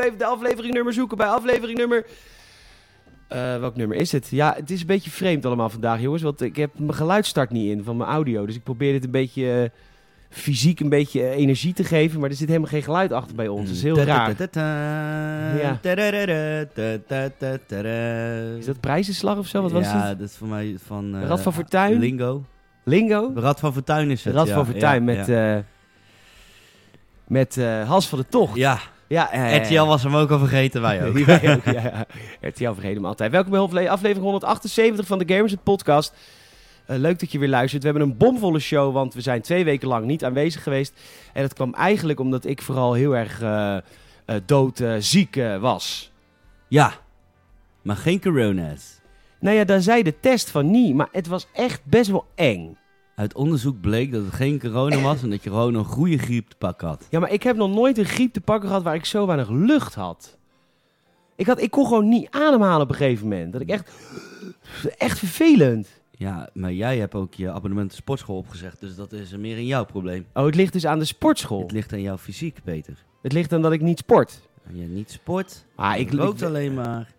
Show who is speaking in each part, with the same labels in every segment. Speaker 1: afleveringnummer zoeken, bij afleveringnummer... Eh welk nummer is het? Ja, het is een beetje vreemd allemaal vandaag, jongens. Want ik heb mijn geluidstart niet in van mijn audio. Dus ik probeer dit een beetje eh, fysiek een beetje eh, energie te geven. Maar er zit helemaal geen geluid achter bij ons. Dat is heel
Speaker 2: Mm.
Speaker 1: raar. Ja. Is dat prijzenslag of zo? Wat was
Speaker 2: ja,
Speaker 1: het?
Speaker 2: dat is voor mij van... eh,
Speaker 1: Rad van Fortuin?
Speaker 2: Lingo.
Speaker 1: Lingo?
Speaker 2: Rad van Fortuin is het,
Speaker 1: Rad
Speaker 2: ja.
Speaker 1: van Fortuin
Speaker 2: Ja,
Speaker 1: met,
Speaker 2: Ja,
Speaker 1: eh, met eh, Hans van de Tocht.
Speaker 2: ja.
Speaker 1: Ja, eh,
Speaker 2: RTL was hem ook al vergeten, wij ook.
Speaker 1: Wij ook, ja, ja. RTL vergeten hem altijd. Welkom bij hofle- aflevering 178 van de Gamers het Podcast. Eh, leuk dat je weer luistert. We hebben een bomvolle show, want we zijn twee weken lang niet aanwezig geweest. En dat kwam eigenlijk omdat ik vooral heel erg eh, eh, dood doodziek was.
Speaker 2: ja, maar geen corona's.
Speaker 1: Nou ja, daar zei de test van niet, maar het was echt best wel eng.
Speaker 2: Uit onderzoek bleek dat het geen corona was en dat je gewoon een goede griep te pakken had.
Speaker 1: Ja, maar ik heb nog nooit een griep te pakken gehad waar ik zo weinig lucht had. Ik, had, ik kon gewoon niet ademhalen op een gegeven moment. Dat ik echt... Echt vervelend.
Speaker 2: Ja, maar jij hebt ook je abonnement de sportschool opgezegd, dus dat is meer in jouw probleem.
Speaker 1: Oh, het ligt dus aan de sportschool.
Speaker 2: Het ligt aan jouw fysiek, Peter.
Speaker 1: Het ligt aan dat ik niet sport.
Speaker 2: Aan je niet sport,
Speaker 1: Ah,
Speaker 2: ik
Speaker 1: ik
Speaker 2: rookt
Speaker 1: ik-
Speaker 2: alleen maar.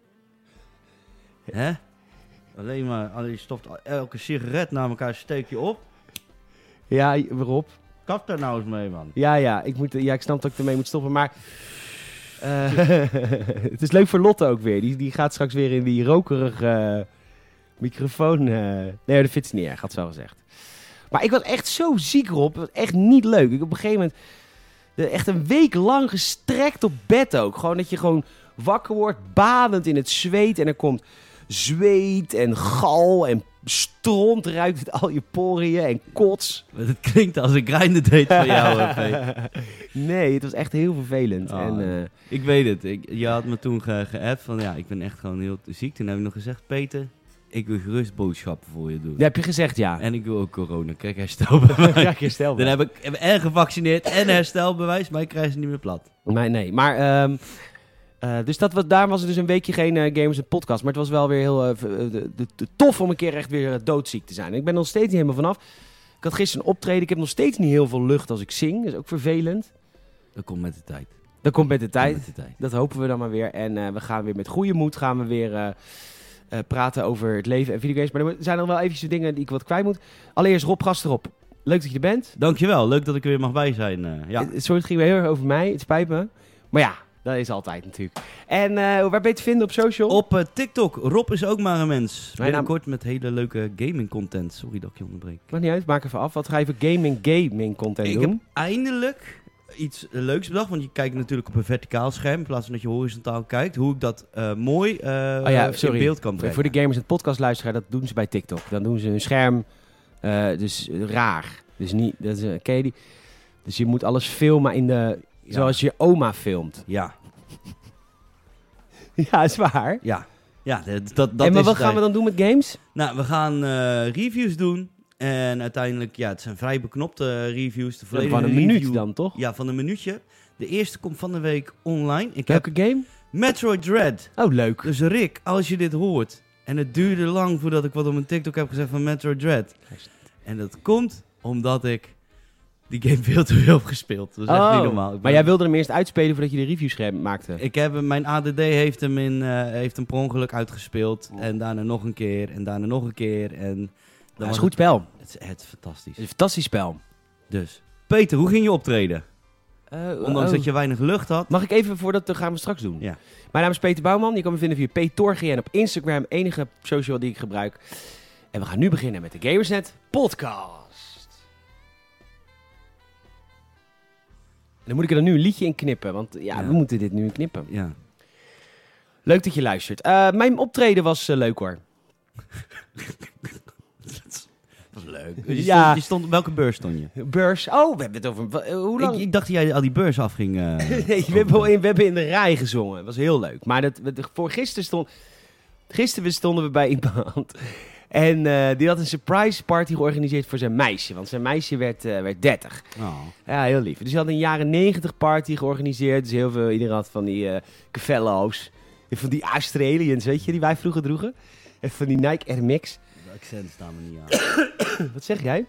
Speaker 2: Hè? Alleen maar, al- je stopt al- elke sigaret na elkaar, steek je op.
Speaker 1: Ja, waarop?
Speaker 2: Kap daar nou eens mee, man.
Speaker 1: Ja, ja ik, moet, ja, ik snap dat ik ermee moet stoppen, maar... eh, het is leuk voor Lotte ook weer. Die, die gaat straks weer in die rokerige eh, microfoon... eh, Nee, dat vindt ze niet erg, had ze al gezegd. Maar ik was echt zo ziek, Rob. Het was echt niet leuk. Ik op een gegeven moment... de- Echt een week lang gestrekt op bed ook. Gewoon dat je gewoon wakker wordt, badend in het zweet. En er komt zweet en gal en stront ruikt uit al je poriën en kots.
Speaker 2: Het klinkt als een grinder date van jou, hè, Peter.
Speaker 1: Nee, het was echt heel vervelend.
Speaker 2: Oh,
Speaker 1: en,
Speaker 2: nee.
Speaker 1: eh,
Speaker 2: Ik weet het. Ik, je had me toen ge- geappt van, ja, ik ben echt gewoon heel ziek. Toen heb ik nog gezegd, Peter, ik wil gerust boodschappen voor je doen.
Speaker 1: dat heb je gezegd, ja.
Speaker 2: En ik wil ook corona. Kijk, herstelbewijs.
Speaker 1: Ja, ik herstel
Speaker 2: Dan heb ik heb en gevaccineerd en herstelbewijs, maar ik krijg ze niet meer plat.
Speaker 1: Nee, nee. Maar, ehm, eh, dus dat was, daar was er dus een weekje geen eh, gamers en podcast. Maar het was wel weer heel eh, v- eh, de, de, de- tof om een keer echt weer eh, doodziek te zijn. En ik ben er nog steeds niet helemaal vanaf. Ik had gisteren een optreden. Ik heb nog steeds niet heel veel lucht als ik zing. Dat is ook vervelend.
Speaker 2: Dat komt met de tijd.
Speaker 1: Dat komt met de tijd.
Speaker 2: Komt met de tijd.
Speaker 1: Dat hopen we dan maar weer. En eh, we gaan weer met goede moed gaan we weer eh, eh, praten over het leven en videogames. Maar er zijn nog wel eventjes dingen die ik wat kwijt moet. Allereerst Rob Gasterop. Leuk dat je er bent.
Speaker 2: Dankjewel, leuk dat ik er weer mag bij zijn. eh, ja.
Speaker 1: Het- Sorry, het ging weer heel erg over mij. Het spijt me. Maar ja, dat is altijd natuurlijk. En eh, waar ben je te vinden op social?
Speaker 2: Op eh, TikTok, Rob is ook maar een mens.
Speaker 1: naam-
Speaker 2: Binnenkort met hele leuke gaming content. Sorry dat ik je onderbreek.
Speaker 1: Maakt niet uit, maak even af. Wat ga je voor gaming gaming content
Speaker 2: Ik
Speaker 1: doen?
Speaker 2: heb eindelijk iets eh, leuks bedacht. Want je kijkt natuurlijk op een verticaal scherm in plaats van dat je horizontaal kijkt. Hoe ik dat eh, mooi eh,
Speaker 1: Oh ja, sorry.
Speaker 2: in beeld kan brengen.
Speaker 1: Voor de gamers en podcastluisteraar, dat doen ze bij TikTok. Dan doen ze hun scherm, eh, dus raar. Dus niet, dat is, eh, ken je die? Dus je moet alles filmen in de,
Speaker 2: Ja.
Speaker 1: zoals je oma filmt.
Speaker 2: Ja,
Speaker 1: Ja, is waar.
Speaker 2: ja. Ja, dat, dat, dat
Speaker 1: en maar
Speaker 2: is
Speaker 1: wat
Speaker 2: het
Speaker 1: gaan we dan doen met games?
Speaker 2: Nou, we gaan eh, reviews doen. En uiteindelijk, ja, het zijn vrij beknopte eh, reviews. De volledige
Speaker 1: Van een minuut
Speaker 2: review-
Speaker 1: dan, toch?
Speaker 2: Ja, van een minuutje. De eerste komt van de week online. Ik heb
Speaker 1: Welke game?
Speaker 2: Metroid Dread.
Speaker 1: Oh, leuk.
Speaker 2: Dus Rick, als je dit hoort... En het duurde lang voordat ik wat op mijn TikTok heb gezegd van Metroid Dread. En dat komt omdat ik die game veel te veel heb gespeeld. Dat is echt niet
Speaker 1: Oh,
Speaker 2: normaal. Ik
Speaker 1: Maar
Speaker 2: ben-
Speaker 1: jij wilde hem eerst uitspelen voordat je de review scherm maakte.
Speaker 2: Ik heb, hem- mijn ADD heeft hem, in, eh, heeft hem per ongeluk uitgespeeld.
Speaker 1: Oh.
Speaker 2: En daarna nog een keer. En daarna nog een keer. En dan
Speaker 1: Dat
Speaker 2: was
Speaker 1: is goed spel. Het
Speaker 2: Het, het is echt fantastisch.
Speaker 1: is een fantastisch spel.
Speaker 2: Dus, Peter, hoe ging je optreden? Ondanks
Speaker 1: Oh.
Speaker 2: dat je weinig lucht had.
Speaker 1: Eh, Mag ik even voordat dat gaan we straks doen?
Speaker 2: Ja.
Speaker 1: Mijn naam is Peter Bouwman. Je kan me vinden via PTorgn op Instagram, enige social die ik gebruik. En we gaan nu beginnen met de Gamersnet podcast. En dan moet ik er dan nu een liedje in knippen, want ja,
Speaker 2: Ja.
Speaker 1: we moeten dit nu in knippen.
Speaker 2: Ja.
Speaker 1: Leuk dat je luistert. Eh, mijn optreden was eh, leuk hoor.
Speaker 2: Dat is leuk. Je,
Speaker 1: Ja.
Speaker 2: stond, je stond, op welke beurs stond je?
Speaker 1: Beurs. Oh, we hebben het over. wa- eh, Hoe lang?
Speaker 2: Ik, ik dacht dat jij al die beurs afging. eh.
Speaker 1: Nee, we hebben, wel in, we hebben in de rij gezongen. Dat was heel leuk. Maar dat, we- voor gisteren, stond, gisteren stonden we bij iemand. En eh, die had een surprise party georganiseerd voor zijn meisje. Want zijn meisje werd, eh, werd 30.
Speaker 2: Oh.
Speaker 1: Ja, heel lief. Dus hij had een jaren 90 party georganiseerd. Dus heel veel, iedereen had van die eh Cavello's. En van die Australians, weet je, die wij vroeger droegen. En van die Nike Air Max.
Speaker 2: De accent staan me niet aan.
Speaker 1: Wat zeg jij?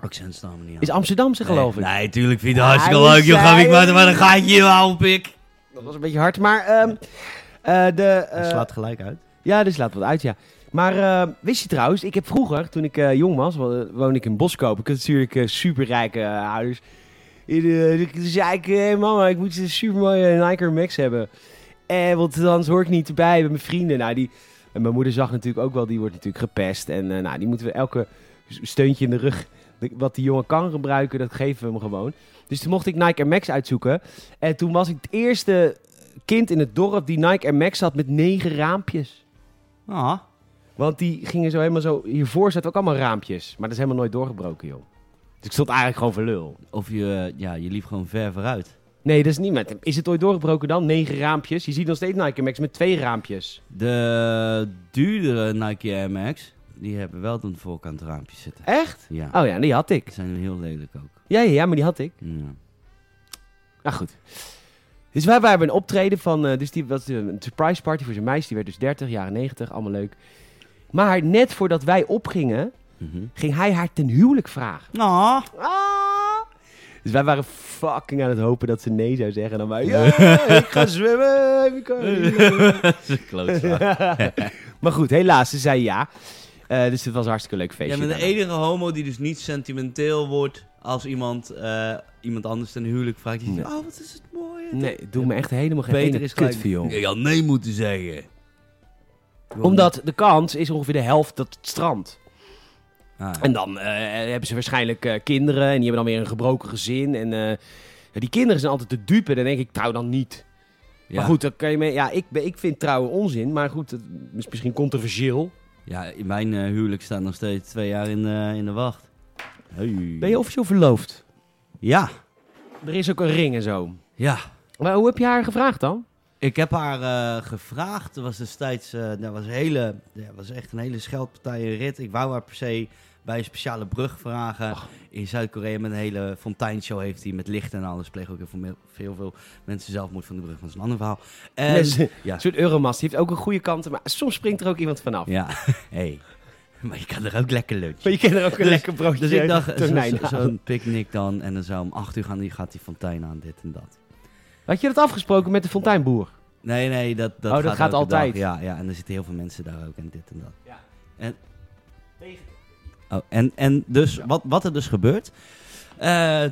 Speaker 2: accent staan me niet aan. Nou,
Speaker 1: Is Amsterdamse, geloof ik.
Speaker 2: Nee, tuurlijk vind je
Speaker 1: Ja,
Speaker 2: het hartstikke
Speaker 1: we
Speaker 2: leuk. Joh, ga
Speaker 1: zijn-
Speaker 2: ik maar, maar dan ga ik je wel op ik.
Speaker 1: Dat was een beetje hard, maar... ehm, eh, de,
Speaker 2: Hij
Speaker 1: eh,
Speaker 2: slaat gelijk uit.
Speaker 1: Ja, dus laat wat uit, ja. Maar eh, wist je trouwens, ik heb vroeger, toen ik eh, jong was, wo- woonde ik in Boskoop. Ik had natuurlijk eh, superrijke eh, ouders. En, eh, ik- Toen zei ik, "Hé, mama, ik moet een supermooie Nike Air Max hebben. En, want dan hoor ik niet erbij bij mijn vrienden. Nou, die, en mijn moeder zag natuurlijk ook wel, die wordt natuurlijk gepest. En eh, nou, die moeten we elke s- steuntje in de rug, wat die jongen kan gebruiken, dat geven we hem gewoon. Dus toen mocht ik Nike Air Max uitzoeken. En toen was ik het eerste kind in het dorp die Nike Air Max had met negen raampjes.
Speaker 2: Ah,
Speaker 1: Want die gingen zo helemaal zo... Hiervoor zaten ook allemaal raampjes. Maar dat is helemaal nooit doorgebroken, joh. Dus ik stond eigenlijk gewoon voor lul.
Speaker 2: of je, eh, ja, je liep gewoon ver vooruit.
Speaker 1: Nee, dat is niet met... Is het ooit doorgebroken dan? Negen raampjes. Je ziet nog steeds Nike Max met twee raampjes.
Speaker 2: De duurdere Nike Air Max, die hebben wel een voorkant raampje zitten.
Speaker 1: Echt?
Speaker 2: Ja,
Speaker 1: Oh ja, die had ik.
Speaker 2: die zijn heel lelijk ook.
Speaker 1: Ja, ja, ja, maar die had ik.
Speaker 2: Ja.
Speaker 1: Nou goed. Dus wij, wij hebben een optreden van... eh, dus die was eh, een surprise party voor zijn meisje. Die werd dus 30, jaren 90. Allemaal leuk. Maar net voordat wij opgingen,
Speaker 2: Mhm.
Speaker 1: ging hij haar ten huwelijk vragen.
Speaker 2: Ah.
Speaker 1: Ah. Dus wij waren fucking aan het hopen dat ze nee zou zeggen. En dan wij, ja, ik ga zwemmen. ik kan-
Speaker 2: Klootzak.
Speaker 1: maar goed, helaas, ze zei ja. Eh, dus het was een hartstikke leuk
Speaker 2: Jij
Speaker 1: feestje.
Speaker 2: bent de
Speaker 1: daarna.
Speaker 2: enige homo die dus niet sentimenteel wordt als iemand, eh, iemand anders ten huwelijk vraagt. Die
Speaker 1: Nee.
Speaker 2: zegt, oh, wat is het mooie.
Speaker 1: Nee, het doet me echt helemaal geen
Speaker 2: Peter
Speaker 1: ene
Speaker 2: is
Speaker 1: kut
Speaker 2: gelijk.
Speaker 1: voor, joh.
Speaker 2: Ik had nee moeten zeggen.
Speaker 1: Omdat de kans is ongeveer de helft dat het strand.
Speaker 2: Ah,
Speaker 1: En dan eh, hebben ze waarschijnlijk eh, kinderen. En die hebben dan weer een gebroken gezin. En eh, ja, die kinderen zijn altijd de dupe. Dan denk ik, trouw dan niet.
Speaker 2: ja.
Speaker 1: Maar goed, dan kan je mee, ja, ik, ben- ik vind trouwen onzin. Maar goed, het is misschien controversieel.
Speaker 2: Ja, in mijn eh, huwelijk staat nog steeds twee jaar in, de- in de wacht. Hey.
Speaker 1: Ben je officieel verloofd?
Speaker 2: Ja,
Speaker 1: Er is ook een ring en zo.
Speaker 2: ja.
Speaker 1: Maar hoe heb je haar gevraagd dan?
Speaker 2: Ik heb haar eh, gevraagd. Er was destijds eh, dat was een hele, ja, was echt een hele scheldpartij in rit. Ik wou haar per se bij een speciale brug vragen.
Speaker 1: Oh.
Speaker 2: In Zuid-Korea met een hele fonteinshow heeft hij met licht en alles. Pleeg ook heel veel, me- veel, veel mensen zelfmoord van de brug. Dat is een ander verhaal. En,
Speaker 1: Nee, ze-
Speaker 2: ja,
Speaker 1: Een soort Euromast. Die heeft ook een goede kant, maar soms springt er ook iemand vanaf.
Speaker 2: ja. Hey. Maar je kan er ook lekker lunchen.
Speaker 1: Maar je kent er ook een
Speaker 2: Dus-
Speaker 1: lekker broodje.
Speaker 2: Dus ik dacht, zo-
Speaker 1: tonijn
Speaker 2: zo-
Speaker 1: aan.
Speaker 2: zo'n picknick dan. En dan zou om acht uur gaan, die gaat die fontein aan, dit en dat.
Speaker 1: Had je dat afgesproken met de fonteinboer?
Speaker 2: Nee, nee, dat, dat
Speaker 1: Oh, dat
Speaker 2: gaat,
Speaker 1: gaat
Speaker 2: elke
Speaker 1: altijd.
Speaker 2: dag. Ja, ja, en er zitten heel veel mensen daar ook en dit en dat.
Speaker 1: Ja.
Speaker 2: En, oh, en, en dus, wat, wat er dus gebeurt. eh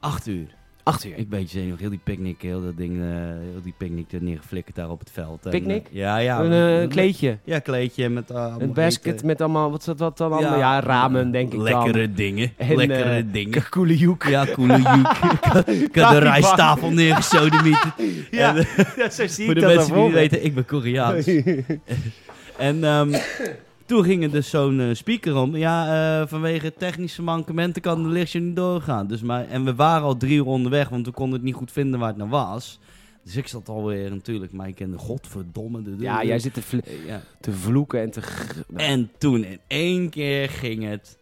Speaker 2: acht uur.
Speaker 1: Acht uur.
Speaker 2: Ik ben beetje zenuwachtig. Heel die picknick, heel dat ding, eh, heel die picknick er neergeflikkerd daar op het veld. En,
Speaker 1: Picknick?
Speaker 2: eh, ja, ja.
Speaker 1: een eh,
Speaker 2: met-
Speaker 1: kleedje.
Speaker 2: Ja, kleedje met... eh, allemaal
Speaker 1: Een basket
Speaker 2: eten.
Speaker 1: met allemaal, wat zat dat dan allemaal? Ja, ramen denk ik
Speaker 2: Lekkere
Speaker 1: dan.
Speaker 2: dingen.
Speaker 1: En,
Speaker 2: lekkere
Speaker 1: eh,
Speaker 2: dingen.
Speaker 1: K- Koele joek.
Speaker 2: Ja, koele joek. Ik had- Ik had de
Speaker 1: Kaffiebak.
Speaker 2: rijsttafel neergesodemieten.
Speaker 1: Ja,
Speaker 2: En, eh,
Speaker 1: ja, zo zie
Speaker 2: Voor
Speaker 1: ik
Speaker 2: de
Speaker 1: dat
Speaker 2: mensen die
Speaker 1: ervoor.
Speaker 2: niet weten, ik ben Koreaans. En ehm, toen ging er dus zo'n eh, speaker om. Ja, eh, vanwege technische mankementen kan de lichtje niet doorgaan. Dus maar, en we waren al drie uur onderweg, want we konden het niet goed vinden waar het nou was. Dus ik zat alweer natuurlijk, maar ik kende godverdomme. De,
Speaker 1: Ja, jij zit te, vl-
Speaker 2: Ja.
Speaker 1: te vloeken en te... g-
Speaker 2: En toen in één keer ging het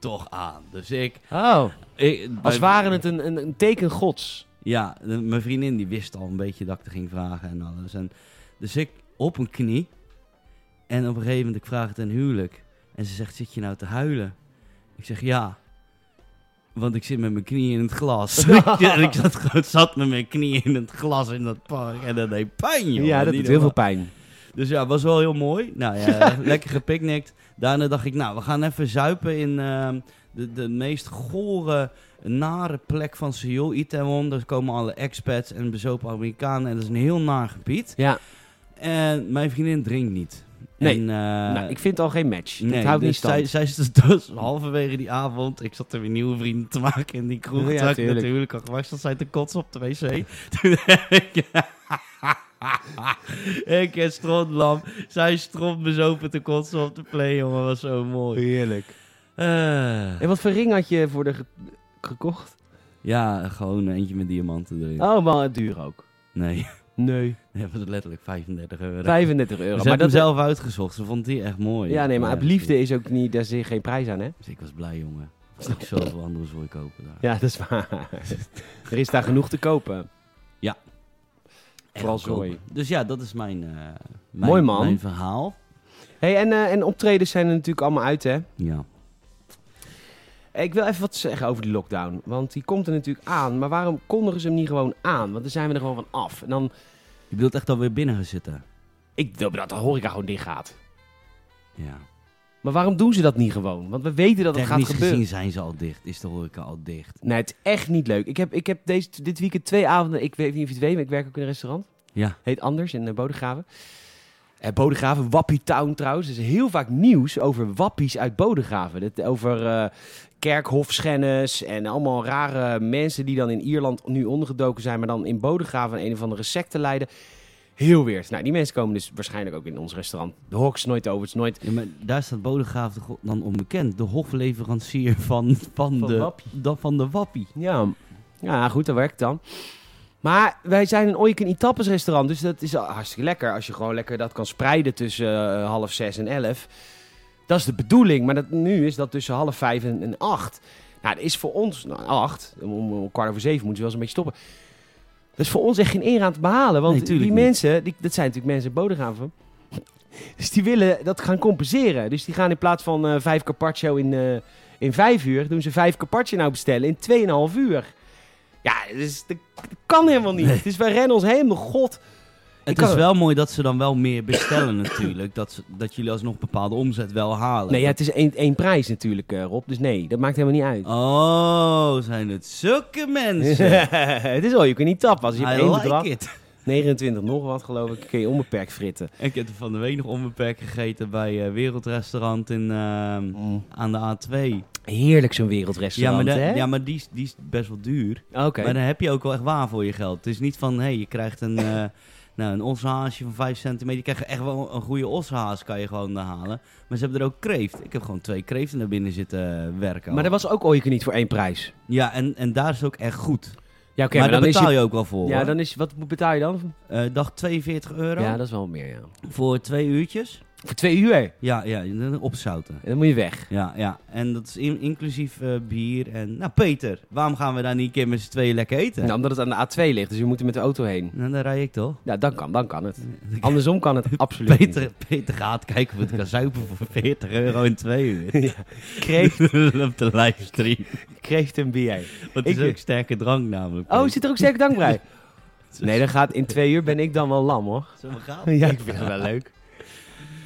Speaker 2: toch aan. Dus ik...
Speaker 1: Oh,
Speaker 2: ik
Speaker 1: als
Speaker 2: bij-
Speaker 1: waren het een, een, een teken gods.
Speaker 2: Ja, de- mijn vriendin die wist al een beetje dat ik er ging vragen en alles. En, dus ik op een knie. En op een gegeven moment, ik vraag het een huwelijk. En ze zegt, zit je nou te huilen? Ik zeg, ja. Want ik zit met mijn knie in het glas. en ik zat, gewoon- zat met mijn knie in het glas in dat park. En dat deed pijn, joh.
Speaker 1: ja, dat
Speaker 2: Niet
Speaker 1: doet heel veel
Speaker 2: normaal.
Speaker 1: pijn.
Speaker 2: Dus ja, was wel heel mooi. Nou ja, lekker gepicnicked. Daarna dacht ik, nou, we gaan even zuipen in ehm, de, de meest gore, nare plek van Seoul, Itaewon. Daar komen alle expats en bezopen Amerikanen. En dat is een heel naar gebied.
Speaker 1: Ja,
Speaker 2: En mijn vriendin drinkt niet.
Speaker 1: Nee.
Speaker 2: En, eh,
Speaker 1: nou, ik vind het al geen match.
Speaker 2: nee,
Speaker 1: het houdt
Speaker 2: dus
Speaker 1: niet stand.
Speaker 2: Zij, zij is dus halverwege die avond. Ik zat er weer nieuwe vrienden te maken in die kroeg.
Speaker 1: Ja,
Speaker 2: Ja, ik
Speaker 1: tuurlijk.
Speaker 2: natuurlijk al gewacht zat zij te kotsen op de wc. Toen heb ik... ik en strontlam. Zij stront bezopen te kotsen op de play, jongen. Was zo mooi.
Speaker 1: Heerlijk.
Speaker 2: Eh,
Speaker 1: En wat voor ring had je voor de ge- gekocht?
Speaker 2: ja, gewoon eentje met diamanten erin.
Speaker 1: Oh, maar het duur ook.
Speaker 2: Nee,
Speaker 1: Nee.
Speaker 2: dat was letterlijk 35 euro.
Speaker 1: 35
Speaker 2: Ze
Speaker 1: euro.
Speaker 2: hebben
Speaker 1: Maar
Speaker 2: hem
Speaker 1: dat
Speaker 2: zelf uitgezocht. Ze vond die echt mooi.
Speaker 1: Ja, nee, maar
Speaker 2: Ja.
Speaker 1: op liefde is ook niet, daar zit geen prijs aan, hè?
Speaker 2: Dus ik was blij, jongen. Ik heb zoveel andere zooi kopen daar.
Speaker 1: Ja, dat is waar. er is daar genoeg te kopen. Vooral
Speaker 2: Echt goedkoop.
Speaker 1: zooi.
Speaker 2: Dus ja, dat is mijn, eh, mijn,
Speaker 1: Mooi, man.
Speaker 2: mijn verhaal.
Speaker 1: hey, en, eh, en optredens zijn er natuurlijk allemaal uit, hè?
Speaker 2: Ja.
Speaker 1: Ik wil even wat zeggen over die lockdown. Want die komt er natuurlijk aan. Maar waarom kondigen ze hem niet gewoon aan? Want dan zijn we er gewoon van af. En dan,
Speaker 2: Je bedoelt echt dat we binnen gaan zitten?
Speaker 1: ik wil dat de horeca gewoon dicht gaat.
Speaker 2: Ja.
Speaker 1: Maar waarom doen ze dat niet gewoon? Want we weten dat het gaat
Speaker 2: Technisch
Speaker 1: gebeuren.
Speaker 2: gezien zijn ze al dicht. Is de horeca al dicht?
Speaker 1: Nee, het is echt niet leuk. Ik heb, ik heb deze, dit weekend twee avonden, ik weet niet of je het weet, maar ik werk ook in een restaurant.
Speaker 2: Ja.
Speaker 1: Heet Anders in eh, Bodegraven. Eh, Bodegraven, Wappie Town trouwens. Er is heel vaak nieuws over wappies uit Bodegraven. Dat, over eh kerkhofschennis en allemaal rare mensen die dan in Ierland nu ondergedoken zijn, maar dan in Bodegraven een of andere secte leiden. Heel weird. Nou, die mensen komen dus waarschijnlijk ook in ons restaurant. De hoks nooit over, het is nooit...
Speaker 2: Ja, maar daar staat Bodegraaf toch dan onbekend. De hofleverancier van, van,
Speaker 1: Van
Speaker 2: de,
Speaker 1: Wappie.
Speaker 2: da- van de Wappie.
Speaker 1: Ja, ja goed, dat werkt dan. Maar wij zijn een Oiken Itappes restaurant, dus dat is al hartstikke lekker. Als je gewoon lekker dat kan spreiden tussen eh, half zes en elf. Dat is de bedoeling, maar dat, nu is dat tussen half vijf en, en acht. Nou, dat is voor ons, nou, acht, om, om, om kwart over zeven moeten ze wel eens een beetje stoppen. Dat is voor ons echt geen eer aan te behalen, want
Speaker 2: Nee,
Speaker 1: die
Speaker 2: tuurlijk niet.
Speaker 1: mensen, die, dat zijn natuurlijk mensen in Bodegraven. Dus die willen dat gaan compenseren. Dus die gaan in plaats van eh, vijf carpaccio in, eh, in vijf uur, doen ze vijf carpaccio nou bestellen in tweeënhalf uur. Ja, dus, dat dat kan helemaal niet.
Speaker 2: Nee.
Speaker 1: Dus wij rennen ons helemaal god.
Speaker 2: Het
Speaker 1: kan
Speaker 2: is
Speaker 1: het.
Speaker 2: wel mooi dat ze dan wel meer bestellen natuurlijk. Dat, ze, dat jullie alsnog bepaalde omzet wel halen.
Speaker 1: Nee, ja, het is één, één prijs natuurlijk, eh, Rob. Dus nee, dat maakt helemaal niet uit.
Speaker 2: Oh, zijn het zulke mensen.
Speaker 1: eh, het is al, je kunt niet tappen. Als dus je hebt
Speaker 2: I
Speaker 1: één
Speaker 2: like
Speaker 1: bedrag,
Speaker 2: it.
Speaker 1: 29 nog wat geloof ik, kun je onbeperkt fritten.
Speaker 2: Ik heb er van de week nog onbeperkt gegeten bij eh, Wereldrestaurant in, ehm, aan de A2.
Speaker 1: Heerlijk zo'n
Speaker 2: Ja, maar,
Speaker 1: wereldrestaurant,
Speaker 2: de-
Speaker 1: hè?
Speaker 2: ja, maar die, is- die is best wel duur.
Speaker 1: Oké.
Speaker 2: Maar dan heb je ook wel echt waar voor je geld. Het is niet van, hé, hey, je krijgt een, eh nou, een oshaasje van 5 centimeter. Je krijgt echt wel een goede oshaas, kan je gewoon daar halen. Maar ze hebben er ook kreeft. Ik heb gewoon twee kreeften naar binnen zitten eh, werken.
Speaker 1: Maar
Speaker 2: al.
Speaker 1: dat was ook ooit niet voor één prijs.
Speaker 2: Ja, en, en daar is het ook echt goed.
Speaker 1: Ja, oké,
Speaker 2: maar, daar
Speaker 1: is
Speaker 2: betaal
Speaker 1: het-
Speaker 2: je ook wel voor.
Speaker 1: Ja,
Speaker 2: hoor.
Speaker 1: dan is wat betaal je dan?
Speaker 2: Eh, dag 42 euro
Speaker 1: Ja, dat is wel meer, ja.
Speaker 2: voor twee uurtjes.
Speaker 1: Voor twee uur. En
Speaker 2: Ja, ja, en dan opzouten.
Speaker 1: dan moet je weg.
Speaker 2: Ja, ja, en dat is in- inclusief eh, bier en... Nou, Peter, waarom gaan we daar niet een keer met z'n tweeën lekker eten?
Speaker 1: Nou, omdat het aan de A2 ligt, dus je moet er met de auto heen.
Speaker 2: Nou, daar rij ik toch?
Speaker 1: Ja, dan kan, dan kan het.
Speaker 2: Mm.
Speaker 1: Andersom kan het absoluut niet.
Speaker 2: Peter, Peter gaat kijken of het kan zuipen voor 40 euro in twee uur.
Speaker 1: Kreeft,
Speaker 2: op de livestream.
Speaker 1: kreeft een bier.
Speaker 2: Want het
Speaker 1: Ik-
Speaker 2: is ook sterke drank namelijk.
Speaker 1: Oh, zit er ook zeker dank bij?
Speaker 2: Zo-
Speaker 1: Nee, dan gaat in twee uur ben ik dan wel lam, hoor.
Speaker 2: Zullen we gaan?
Speaker 1: Ja, ik vind het wel leuk.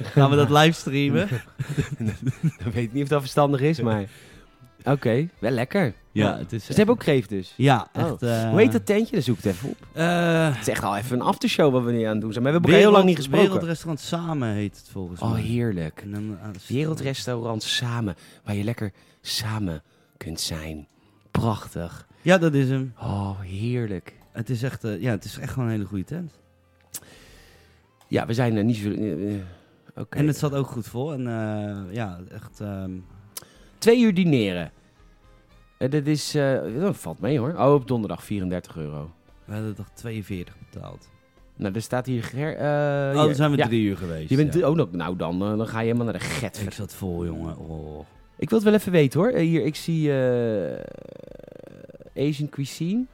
Speaker 2: Gaan we dat livestreamen?
Speaker 1: Ik weet niet of dat verstandig is, maar... Oké, wel lekker.
Speaker 2: Ja, het is...
Speaker 1: Ze hebben ook kreeft dus.
Speaker 2: Ja,
Speaker 1: Oh.
Speaker 2: echt... eh,
Speaker 1: Hoe heet dat tentje? Dan zoek ik het even op.
Speaker 2: eh,
Speaker 1: Het is echt al even een aftershow wat we nu aan het doen zijn. Maar we hebben elkaar heel lang niet
Speaker 2: Wereld-
Speaker 1: gesproken.
Speaker 2: Wereldrestaurant Samen heet het volgens mij.
Speaker 1: Oh, heerlijk.
Speaker 2: En dan eh, aan de-
Speaker 1: Wereldrestaurant samen, waar je lekker samen kunt zijn. Prachtig.
Speaker 2: Ja, dat is hem.
Speaker 1: Oh, heerlijk.
Speaker 2: Het is echt, eh, ja, het is echt gewoon een hele goede tent.
Speaker 1: Ja, we zijn er niet zo... eh, eh, Oké.
Speaker 2: En het zat ook goed vol. En eh, ja, echt... ehm,
Speaker 1: Twee uur dineren. Eh, dat is... eh, dat valt mee hoor. Oh, op donderdag 34 euro.
Speaker 2: we hadden toch 42 betaald.
Speaker 1: Nou, er staat hier... Ger, eh,
Speaker 2: oh,
Speaker 1: hier.
Speaker 2: dan zijn we
Speaker 1: Ja,
Speaker 2: drie oh. uur geweest.
Speaker 1: Je bent
Speaker 2: ja.
Speaker 1: oh, nou, nou dan, eh, dan ga je helemaal naar de get.
Speaker 2: Ik zat vol, jongen. Oh.
Speaker 1: Ik wil het wel even weten hoor. Eh, Hier, ik zie eh, Asian cuisine.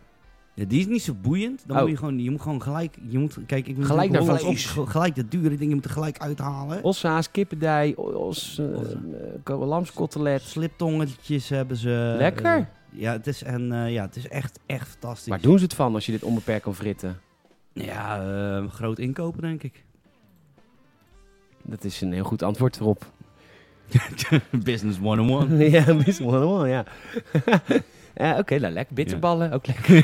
Speaker 2: Ja, die is niet zo boeiend. Dan
Speaker 1: Oh.
Speaker 2: moet je gewoon, je moet gewoon gelijk, je moet, kijk, ik moet
Speaker 1: Gelijk naar
Speaker 2: Hollands
Speaker 1: vlees.
Speaker 2: op- gelijk dat dure ding, je moet er gelijk uithalen.
Speaker 1: Ossa's, kippendij, os, eh, eh, lamskotelet.
Speaker 2: Sliptongetjes hebben ze.
Speaker 1: Lekker.
Speaker 2: Eh, ja, het is, en, eh, ja, het is echt, echt fantastisch.
Speaker 1: Waar doen ze het van als je dit onbeperkt kan fritten?
Speaker 2: Ja, eh, groot inkopen, denk ik.
Speaker 1: Dat is een heel goed antwoord erop.
Speaker 2: Business one-on-one.
Speaker 1: ja, misschien wel wel, ja. Eh, Oké, nou lekker. Bitterballen, ook lekker.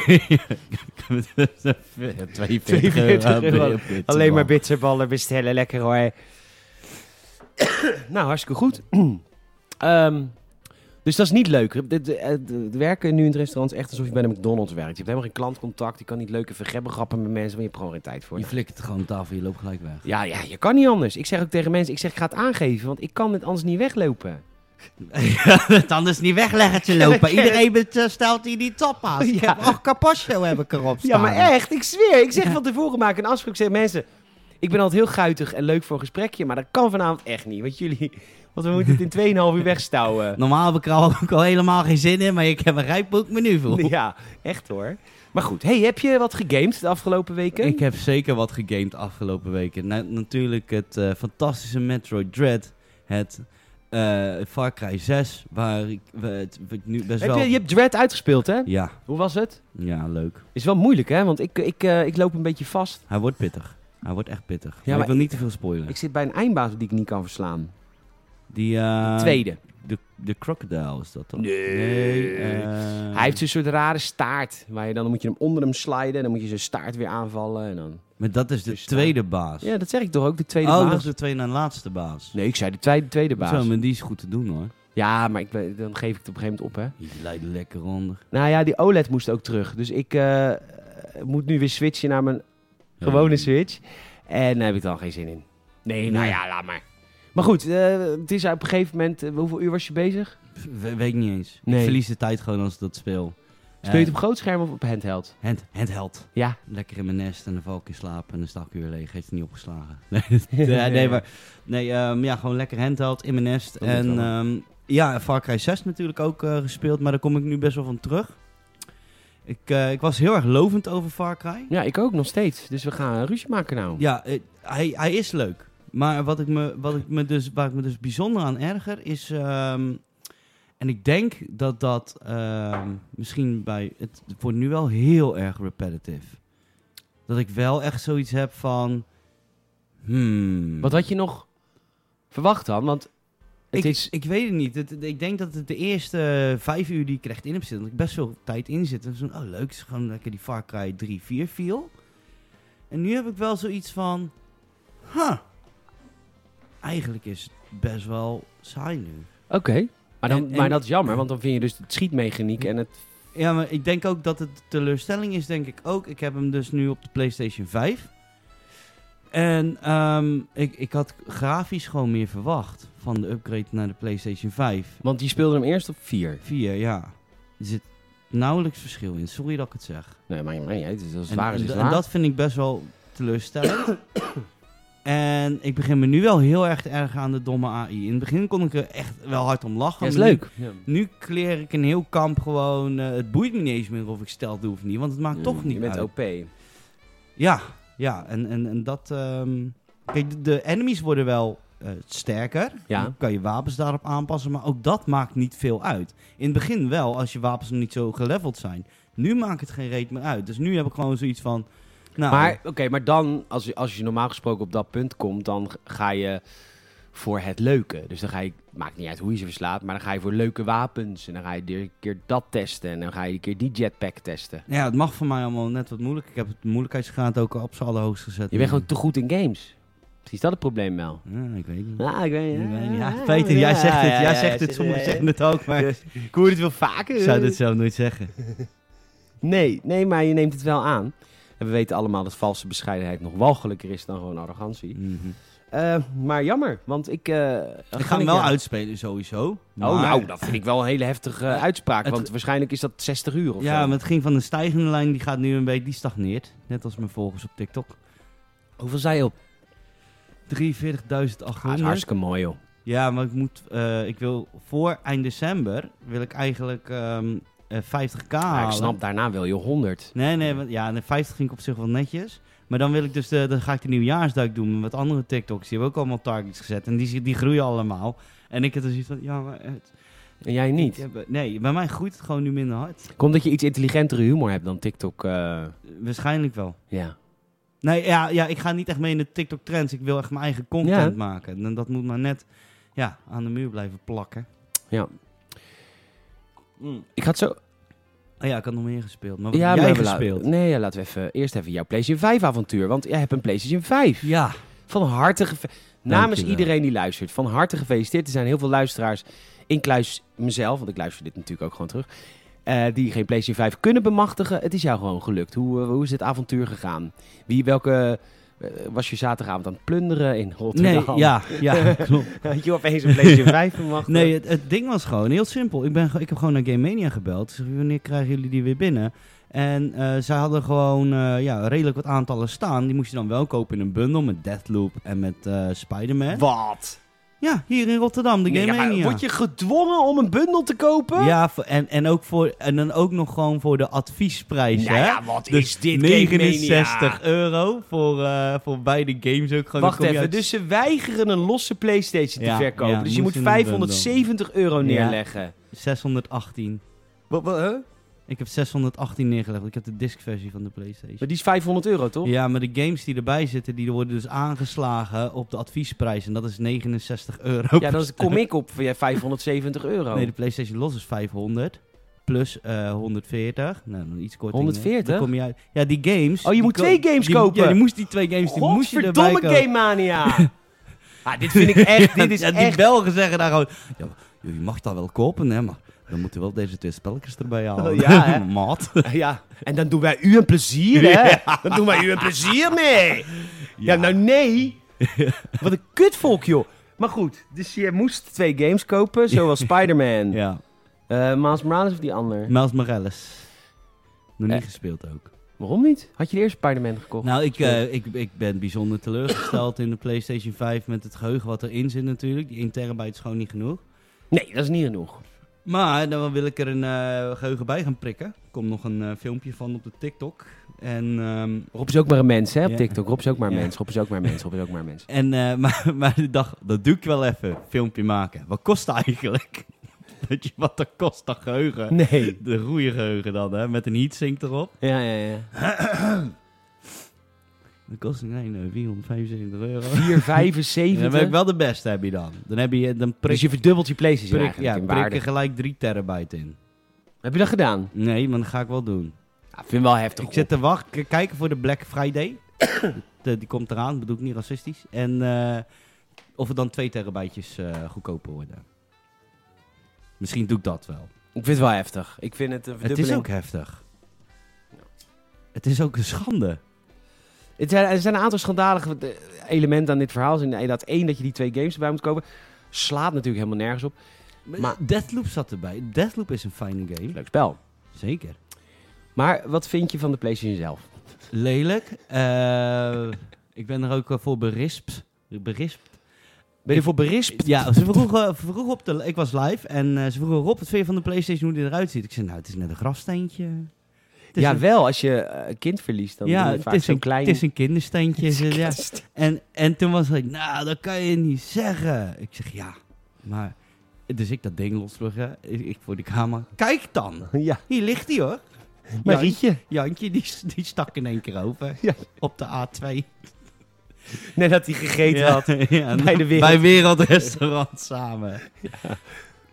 Speaker 2: 42
Speaker 1: euro.
Speaker 2: euro.
Speaker 1: Alleen maar bitterballen bestellen, lekker hoor. nou, hartstikke goed. Ehm, dus dat is niet leuk. Het- Het het- het werken nu in het restaurant is echt alsof je bij de McDonald's werkt. Je hebt helemaal geen klantcontact. Je kan niet leuke vergebben grappen met mensen, want je hebt gewoon geen tijd voor.
Speaker 2: Je flikkert het gewoon op tafel, je loopt gelijk weg.
Speaker 1: Ja, ja, je kan niet anders. Ik zeg ook tegen mensen, ik zeg ik ga het aangeven, want ik kan dit anders niet weglopen.
Speaker 2: Het anders niet wegleggen te lopen. Iedereen bestelt hier die tapas.
Speaker 1: Ik heb
Speaker 2: Och, capaccio heb ik erop
Speaker 1: Ja, maar echt, ik zweer. Ik zeg van tevoren maak een afspraak. Ik zeg mensen, ik ben altijd heel guitig en leuk voor een gesprekje, maar dat kan vanavond echt niet. Want jullie, want we moeten het in 2,5 uur wegstouwen.
Speaker 2: Normaal heb ik er al- ook al helemaal geen zin in, maar ik heb een rijboek menu voor.
Speaker 1: Ja, echt hoor. Maar goed, hey, heb je wat gegamed de afgelopen weken?
Speaker 2: Ik heb zeker wat gegamed afgelopen weken. Na- natuurlijk het eh, fantastische Metroid Dread. Het eh, Far Cry 6, waar ik we het we het nu best
Speaker 1: Heb
Speaker 2: wel...
Speaker 1: je, je hebt Dread uitgespeeld, hè?
Speaker 2: Ja,
Speaker 1: Hoe was het?
Speaker 2: ja, leuk.
Speaker 1: Is wel moeilijk, hè? Want ik, ik, eh, ik loop een beetje vast.
Speaker 2: Hij wordt pittig. Hij wordt echt pittig. maar
Speaker 1: maar
Speaker 2: ik wil niet te veel spoilen.
Speaker 1: Ik zit bij een eindbaas die ik niet kan verslaan.
Speaker 2: die, eh,
Speaker 1: Tweede.
Speaker 2: De, de crocodile is dat toch?
Speaker 1: Nee.
Speaker 2: eh,
Speaker 1: Hij heeft zo'n soort rare staart. Waar je dan, dan moet je hem onder hem sliden. En dan moet je zijn staart weer aanvallen. En dan...
Speaker 2: Maar dat is de
Speaker 1: Dus
Speaker 2: tweede baas.
Speaker 1: Ja, dat zeg ik toch ook. De tweede
Speaker 2: oh,
Speaker 1: baas.
Speaker 2: dat is de tweede na laatste baas.
Speaker 1: Nee, ik zei de tweede, tweede baas.
Speaker 2: Zo, maar die is goed te doen hoor.
Speaker 1: Ja, maar ik, ben- dan geef ik het op een gegeven moment op, hè.
Speaker 2: Die leidt lekker onder.
Speaker 1: Nou ja, die OLED moest ook terug. Dus ik eh, moet nu weer switchen naar mijn gewone Switch. En daar heb ik dan geen zin in. Nee, nou
Speaker 2: Nee.
Speaker 1: ja, laat maar. Maar goed, eh, het is op een gegeven moment... eh, hoeveel uur was je bezig?
Speaker 2: We- weet ik niet eens.
Speaker 1: Nee.
Speaker 2: Ik verlies de tijd gewoon als ik dat speel. Eh,
Speaker 1: Speel je het op groot scherm of op handheld?
Speaker 2: Hand, handheld.
Speaker 1: Ja.
Speaker 2: Lekker in mijn nest en dan val ik in slaap en dan sta ik weer leeg. Heeft het niet opgeslagen. Nee, nee, nee, maar nee, ehm, ja, gewoon lekker handheld in mijn nest.
Speaker 1: Dat moet
Speaker 2: en
Speaker 1: wel.
Speaker 2: ehm, ja, Far Cry 6 natuurlijk ook eh, gespeeld, maar daar kom ik nu best wel van terug. Ik, eh, ik was heel erg lovend over Far Cry.
Speaker 1: Ja, ik ook nog steeds. Dus we gaan een ruzie maken nou.
Speaker 2: Ja, eh, hij, hij is leuk. Maar wat ik me, wat ik me dus, waar ik me dus bijzonder aan erger is. ehm, en ik denk dat dat ehm, misschien bij. Het wordt nu wel heel erg repetitive. Dat ik wel echt zoiets heb van. Hmm.
Speaker 1: Wat had je nog verwacht dan? Want het
Speaker 2: ik,
Speaker 1: is...
Speaker 2: ik weet het niet. Het- ik denk dat het de eerste vijf uur die ik echt in heb zitten, dat ik best veel tijd in zit. En zo'n, oh leuk, het is gewoon lekker die Far Cry 3, 4 viel. En nu heb ik wel zoiets van, huh, eigenlijk is het best wel saai nu.
Speaker 1: Oké. Maar, dan,
Speaker 2: En- en-
Speaker 1: maar dat is jammer, want dan vind je dus het schietmechaniek en het...
Speaker 2: Ja, maar ik denk ook dat het de teleurstelling is, denk ik ook. Ik heb hem dus nu op de PlayStation 5. En ehm, ik, ik had grafisch gewoon meer verwacht van de upgrade naar de PlayStation 5.
Speaker 1: Want die speelde hem eerst op 4.
Speaker 2: Vier, ja. Er zit nauwelijks verschil in. Sorry dat ik het zeg.
Speaker 1: Nee, maar, maar ja, het is, als
Speaker 2: En,
Speaker 1: het waar is,
Speaker 2: en-
Speaker 1: is het
Speaker 2: en
Speaker 1: waar.
Speaker 2: dat vind ik best wel teleurstellend. en ik begin me nu wel heel erg te erg aan de domme AI. In het begin kon ik er echt wel hard om lachen.
Speaker 1: Ja, is
Speaker 2: maar nu-
Speaker 1: leuk.
Speaker 2: Nu kleer ik een heel kamp gewoon. eh, het boeit me niet eens meer of ik steld doe of niet. Want het maakt toch niet
Speaker 1: Je bent
Speaker 2: uit.
Speaker 1: OP.
Speaker 2: Ja, ja. En, en, en dat... ehm, Kijk, de- de enemies worden wel eh, sterker.
Speaker 1: Ja.
Speaker 2: Dan kan je wapens daarop aanpassen. Maar ook dat maakt niet veel uit. In het begin wel, als je wapens nog niet zo geleveld zijn. Nu maakt het geen reet meer uit. Dus nu heb ik gewoon zoiets van... Nou,
Speaker 1: Maar oké, maar dan, als je, als je normaal gesproken op dat punt komt, dan g- ga je voor het leuke. Dus dan ga je, maakt niet uit hoe je ze verslaat, maar dan ga je voor leuke wapens. En dan ga je een keer dat testen. En dan ga je een keer die jetpack testen.
Speaker 2: ja, het mag voor mij allemaal net wat moeilijk. Ik heb het moeilijkheidsgraad ook op z'n allerhoogst gezet.
Speaker 1: Je bent gewoon te goed in games. Is dat het probleem wel?
Speaker 2: Ja, ik weet niet.
Speaker 1: Ja, ik weet
Speaker 2: Ik weet niet. Ja, Peter, jij zegt het. Jij zegt het. Sommigen zeggen het ook, maar ik
Speaker 1: Ik hoor het wel vaker.
Speaker 2: zou dit zelf nooit zeggen.
Speaker 1: Nee, nee, maar je neemt het wel aan. En we weten allemaal dat valse bescheidenheid nog walgelijker is dan gewoon arrogantie.
Speaker 2: Mhm.
Speaker 1: Eh, maar jammer, want ik... eh
Speaker 2: Ik ga hem wel uitspelen sowieso.
Speaker 1: Oh,
Speaker 2: maar-
Speaker 1: nou, dat vind ik wel een hele heftige eh, uitspraak.
Speaker 2: Het-
Speaker 1: Want waarschijnlijk is dat 60 uur of
Speaker 2: Ja,
Speaker 1: zo.
Speaker 2: maar het ging van een stijgende lijn, die gaat nu een beetje, die stagneert. Net als mijn volgers op TikTok.
Speaker 1: Hoeveel zei je op?
Speaker 2: 43.800.
Speaker 1: Ah, is hartstikke mooi, joh.
Speaker 2: ja, maar ik moet, eh, ik wil voor eind december, wil ik eigenlijk ehm, eh, 50k
Speaker 1: Maar ik
Speaker 2: halen.
Speaker 1: snap, daarna wil je 100.
Speaker 2: Nee, nee, want, ja, de 50 ging ik op zich wel netjes. Maar dan wil ik dus, de, dan ga ik de nieuwjaarsduik doen met wat andere TikToks. Die hebben ook allemaal targets gezet en die, die groeien allemaal. En ik heb dus iets van, ja, maar... het-
Speaker 1: En jij
Speaker 2: ik
Speaker 1: niet.
Speaker 2: heb- nee, bij mij groeit het gewoon nu minder hard.
Speaker 1: Komt dat je iets intelligentere humor hebt dan TikTok. eh,
Speaker 2: Waarschijnlijk wel.
Speaker 1: ja.
Speaker 2: Nee, ja, ja, ik ga niet echt mee in de TikTok-trends. Ik wil echt mijn eigen content maken. En dat moet maar net ja, aan de muur blijven plakken.
Speaker 1: Ik had zo...
Speaker 2: Oh ja, ik had nog meer gespeeld. Maar wat heb
Speaker 1: maar
Speaker 2: jij
Speaker 1: we la-
Speaker 2: gespeeld?
Speaker 1: Nee, ja, laten we even, eerst even jouw PlayStation 5 avontuur. Want jij hebt een PlayStation 5.
Speaker 2: Ja.
Speaker 1: Van harte geve- Namens
Speaker 2: Dankjewel.
Speaker 1: iedereen die luistert, van harte gefeliciteerd. Er zijn heel veel luisteraars, inclusief mezelf, want ik luister dit natuurlijk ook gewoon terug, eh, die geen PlayStation 5 kunnen bemachtigen. Het is jou gewoon gelukt. Hoe, eh, hoe is dit avontuur gegaan? Wie, welke eh, was je zaterdagavond aan het plunderen in
Speaker 2: Nee,
Speaker 1: Rotterdam?
Speaker 2: ja, ja, klopt.
Speaker 1: Had je opeens een PlayStation 5 bemachtigd?
Speaker 2: Nee, het, het ding was gewoon heel simpel. Ik, ben, ge- ik heb gewoon naar Game Mania gebeld. Ik zeg, wanneer krijgen jullie die weer binnen? En eh, zij hadden gewoon eh, ja, redelijk wat aantallen staan. Die moest je dan wel kopen in een bundel met Deathloop en met eh Spider-Man.
Speaker 1: Wat?
Speaker 2: Ja, hier in Rotterdam, de
Speaker 1: Nee,
Speaker 2: Game
Speaker 1: ja, maar
Speaker 2: Mania.
Speaker 1: word je gedwongen om een bundel te kopen?
Speaker 2: Ja, voor- en, en, ook voor, en dan ook nog gewoon voor de adviesprijs.
Speaker 1: Nou
Speaker 2: hè?
Speaker 1: ja, wat
Speaker 2: Dus
Speaker 1: is dit, Game
Speaker 2: 69
Speaker 1: Mania?
Speaker 2: euro voor, eh, voor beide games ook. Gewoon, dan
Speaker 1: Wacht
Speaker 2: kom je
Speaker 1: even,
Speaker 2: uit-
Speaker 1: dus ze weigeren een losse PlayStation
Speaker 2: Ja,
Speaker 1: te verkopen.
Speaker 2: ja,
Speaker 1: dus je
Speaker 2: moest
Speaker 1: moet
Speaker 2: in een bundel.
Speaker 1: 570 euro neerleggen.
Speaker 2: 618.
Speaker 1: Wat, wat, hè?
Speaker 2: Ik heb 618 neergelegd. want Ik heb de discversie van de PlayStation.
Speaker 1: Maar die is 500 euro, toch?
Speaker 2: Ja, maar de games die erbij zitten, die worden dus aangeslagen op de adviesprijs. En dat is 69 euro.
Speaker 1: Ja, dan kom ik op voor jij 570 euro.
Speaker 2: Nee, de PlayStation Los is 500. Plus eh, 140. Nou, dan iets korter.
Speaker 1: 140?
Speaker 2: kom je uit. Ja, die games.
Speaker 1: Oh, je
Speaker 2: die
Speaker 1: moet
Speaker 2: ko-
Speaker 1: twee games
Speaker 2: die-
Speaker 1: kopen.
Speaker 2: Ja, die moest die twee games, die moest je erbij
Speaker 1: Godverdomme
Speaker 2: kopen.
Speaker 1: Game Mania! ah, dit vind ik echt, dit is
Speaker 2: ja, die
Speaker 1: echt...
Speaker 2: Belgen zeggen daar gewoon... Ja, maar, joh, je mag dat wel kopen, hè, maar dan moeten we wel deze twee spelletjes erbij halen.
Speaker 1: Oh, ja, hè?
Speaker 2: Maat.
Speaker 1: Ja, en dan doen wij u een plezier, hè? Dan doen wij u een plezier mee. Ja, nou nee. Wat een kutvolk, joh. Maar goed, dus je moest twee games kopen, zoals Spider-Man. Eh
Speaker 2: Ja,
Speaker 1: Miles Morales of die ander?
Speaker 2: Miles Morales. Nog niet
Speaker 1: Eh.
Speaker 2: gespeeld ook.
Speaker 1: Waarom niet? Had je de eerste Spider-Man gekocht?
Speaker 2: Nou, ik, eh, ik, ik ben bijzonder teleurgesteld in de PlayStation 5 met het geheugen wat erin zit natuurlijk. Die 1 terabyte is gewoon niet genoeg.
Speaker 1: Nee, dat is niet genoeg.
Speaker 2: Maar dan wil ik er een eh, geheugen bij gaan prikken. Er komt nog een eh, filmpje van op de TikTok. En, ehm,
Speaker 1: Rob is ook maar een mens, hè, op
Speaker 2: Ja.
Speaker 1: TikTok. Rob is ook maar een
Speaker 2: Ja.
Speaker 1: mens, Rob is ook maar een mens, Rob is ook maar een mens.
Speaker 2: en, eh, maar, maar ik dacht, dat doe ik wel even. Filmpje maken. Wat kost dat eigenlijk? Weet je wat dat kost, dat geheugen?
Speaker 1: Nee.
Speaker 2: De goede geheugen dan, hè? Met een heatsink erop.
Speaker 1: Ja, ja, ja.
Speaker 2: Dat kost nee, nee, 475 euro.
Speaker 1: 4,75.
Speaker 2: Dan ben ik wel de beste, heb je dan. Dan heb je dan prik,
Speaker 1: Dus je verdubbelt je PlayStation
Speaker 2: prik-
Speaker 1: eigenlijk
Speaker 2: ja,
Speaker 1: in
Speaker 2: prik
Speaker 1: waarde.
Speaker 2: er gelijk 3 terabyte in.
Speaker 1: Heb je dat gedaan?
Speaker 2: Nee, maar dat ga ik wel doen.
Speaker 1: Ja, vind wel heftig.
Speaker 2: Ik zit te wachten, k- kijken voor de Black Friday. De- die komt eraan, bedoel ik niet racistisch. En eh, of het dan 2 terabytejes eh, goedkoper worden. Misschien doe ik dat wel.
Speaker 1: Ik vind het wel heftig. Ik vind het een
Speaker 2: Het is
Speaker 1: verdubbeling.
Speaker 2: ook heftig. Het is ook een schande.
Speaker 1: Het zijn, er zijn een aantal schandalige eh, elementen aan dit verhaal. Dus inderdaad, één, dat je die twee games erbij moet kopen. Slaat natuurlijk helemaal nergens op.
Speaker 2: Maar Deathloop zat erbij. Deathloop is een fijne game.
Speaker 1: Leuk spel.
Speaker 2: Zeker.
Speaker 1: Maar wat vind je van de PlayStation zelf?
Speaker 2: Lelijk. Eh, ik ben er ook eh, voor berispt. Berispt.
Speaker 1: Ben je voor berispt?
Speaker 2: Ja, ze vroegen, vroegen op de... Ik was live en eh, ze vroegen Rob, wat vind je van de Playstation, hoe die eruit ziet? Ik zei, nou, het is net een grassteentje. Het is
Speaker 1: ja,
Speaker 2: een-
Speaker 1: wel. Als je eh, een kind verliest, dan
Speaker 2: ja,
Speaker 1: doe je
Speaker 2: het
Speaker 1: vaak
Speaker 2: is,
Speaker 1: zo'n
Speaker 2: een,
Speaker 1: klein...
Speaker 2: het is een kindersteentje.
Speaker 1: Het is een
Speaker 2: Ze- ja.
Speaker 1: kist.
Speaker 2: en, en toen was ik, nou, dat kan je niet zeggen. Ik zeg, ja, maar... Dus ik dat ding losbruggen, ik ik voor de kamer. Kijk dan,
Speaker 1: Ja,
Speaker 2: hier ligt hij hoor.
Speaker 1: Marietje.
Speaker 2: Jantje, die, die stak in één keer over.
Speaker 1: Ja.
Speaker 2: Op de A2.
Speaker 1: Nee, dat hij gegeten had.
Speaker 2: ja,
Speaker 1: bij de wereld.
Speaker 2: Bij Wereldrestaurant samen.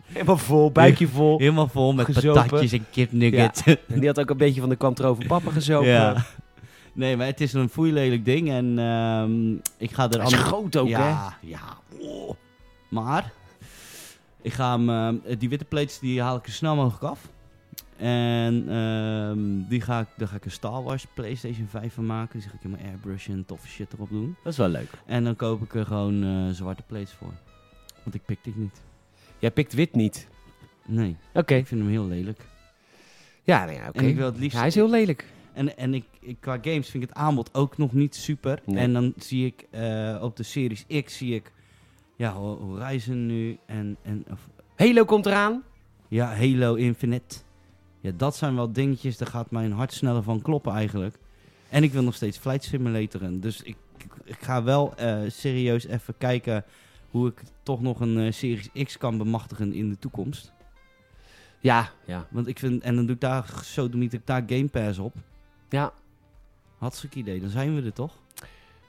Speaker 1: Helemaal vol, buikje vol.
Speaker 2: Helemaal vol met
Speaker 1: Gezopen.
Speaker 2: patatjes en kipnuggets.
Speaker 1: En die had ook een beetje van de kantrover papa gezopen.
Speaker 2: Ja. Nee, maar het is een foeilelijk ding en ehm, ik ga er
Speaker 1: Hij is
Speaker 2: ander-
Speaker 1: groot ook, hè?
Speaker 2: ja, ja. Oh. Maar ik ga hem, ehm, die witte plates die haal ik zo snel mogelijk af. En ehm, die ga ik, daar ga ik een Star Wars PlayStation 5 van maken. Die ga ik helemaal airbrushen en toffe shit erop doen.
Speaker 1: Dat is wel leuk.
Speaker 2: En dan koop ik er gewoon eh, zwarte plates voor. Want ik pik dit niet.
Speaker 1: Jij pikt wit niet.
Speaker 2: Nee,
Speaker 1: Oké.
Speaker 2: ik vind hem heel lelijk.
Speaker 1: Ja, nou ja, oké.
Speaker 2: En ik wil het liefst
Speaker 1: Ja, hij is heel lelijk.
Speaker 2: En, en ik, ik- qua games vind ik het aanbod ook nog niet super.
Speaker 1: Nee.
Speaker 2: En dan zie ik eh, op de Series X zie ik ja, Ho- Horizon nu en, en of,
Speaker 1: Halo komt eraan.
Speaker 2: ja, Halo Infinite. Ja, dat zijn wel dingetjes, daar gaat mijn hart sneller van kloppen eigenlijk. En ik wil nog steeds Flight Simulatoren. Dus ik, ik, ik ga wel eh, serieus even kijken hoe ik toch nog een eh, Series X kan bemachtigen in de toekomst.
Speaker 1: Ja, ja.
Speaker 2: Want ik vind, en dan doe ik daar, zo doe ik daar Game Pass op.
Speaker 1: Ja.
Speaker 2: Hartstikke idee, dan zijn we er toch?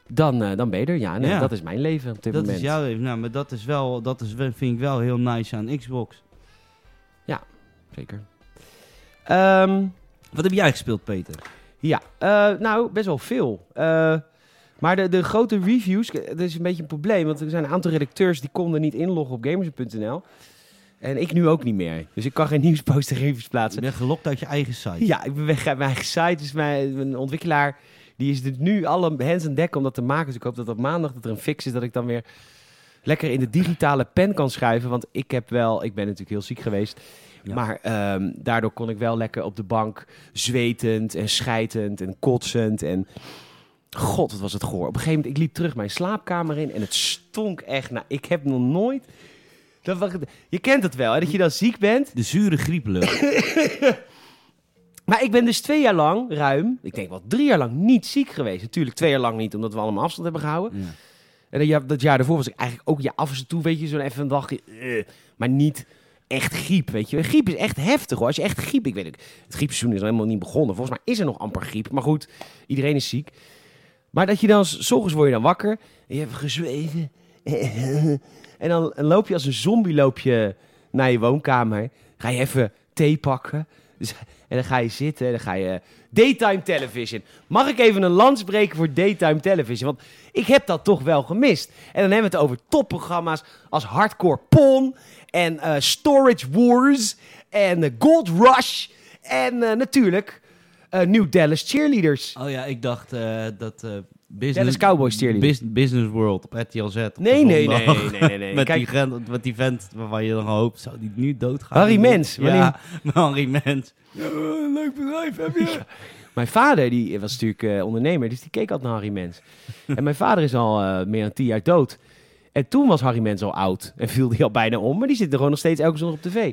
Speaker 1: Dan, eh, dan ben je er. Ja, nee,
Speaker 2: Ja.
Speaker 1: dat is mijn leven op dit
Speaker 2: dat
Speaker 1: moment.
Speaker 2: is jouw leven. Nou, maar dat is wel, dat is, wel- vind ik wel heel nice aan Xbox.
Speaker 1: Zeker. Ehm,
Speaker 2: Wat heb jij gespeeld, Peter?
Speaker 1: ja, eh, nou, best wel veel. Eh, maar de, de grote reviews, k- dat is een beetje een probleem. Want er zijn een aantal redacteurs die konden niet inloggen op gamers.nl. En ik nu ook niet meer. Dus ik kan geen nieuwspost en reviews
Speaker 2: Je
Speaker 1: plaatsen.
Speaker 2: bent gelokt uit je eigen site.
Speaker 1: Ja, ik ben weg uit mijn eigen site. Dus mijn, mijn ontwikkelaar die is dit nu alle hands aan dek om dat te maken. Dus ik hoop dat op maandag dat er een fix is. Dat ik dan weer lekker in de digitale pen kan schuiven. Want ik heb wel, ik ben natuurlijk heel ziek geweest.
Speaker 2: Ja.
Speaker 1: Maar ehm, daardoor kon ik wel lekker op de bank zwetend en schijtend en kotsend en God, wat was het goor. Op een gegeven moment, ik liep terug mijn slaapkamer in en het stonk echt. Nou, ik heb nog nooit... Dat, was- je kent het wel, hè? dat je dan ziek bent.
Speaker 2: De zure grieplucht.
Speaker 1: Maar ik ben dus twee jaar lang, ruim, ik denk wel drie jaar lang niet ziek geweest. Natuurlijk twee jaar lang niet, omdat we allemaal afstand hebben gehouden.
Speaker 2: ja.
Speaker 1: En dat jaar, dat jaar daarvoor was ik eigenlijk ook ja, af en toe, weet je, zo'n even een dagje, eh, maar niet echt griep, weet je. Griep is echt heftig hoor. Als je echt griep, ik weet het, het griepseizoen is nog helemaal niet begonnen. Volgens mij is er nog amper griep, maar goed, iedereen is ziek. Maar dat je dan, s s ochtends word je dan wakker, en je hebt gezweven. en dan loop je als een zombie loop je naar je woonkamer. Ga je even thee pakken. Dus, en dan ga je zitten en dan ga je... Daytime television. Mag ik even een lans breken voor daytime television? Want ik heb dat toch wel gemist. En dan hebben we het over topprogramma's als Hardcore Pon en eh, Storage Wars en eh, Gold Rush en eh, natuurlijk eh, New Dallas Cheerleaders.
Speaker 2: Oh ja, ik dacht eh, dat... eh business,
Speaker 1: Dallas Cowboys cheerleaders.
Speaker 2: Bus- business World op RTL Z. op
Speaker 1: Nee, nee,
Speaker 2: de
Speaker 1: nee,
Speaker 2: zondag.
Speaker 1: nee, nee, nee.
Speaker 2: Met,
Speaker 1: Kijk,
Speaker 2: die vent, met die vent waarvan je dan hoopt, zou die nu doodgaan?
Speaker 1: Harry Mens,
Speaker 2: Ja, Harry Mens. Ja, leuk bedrijf heb je.
Speaker 1: Mijn vader die was natuurlijk eh, ondernemer, dus die keek altijd naar Harry Mens. en mijn vader is al eh, meer dan tien jaar dood. En toen was Harry Mens al oud en viel die al bijna om, maar die zit er gewoon nog steeds elke zondag op tv.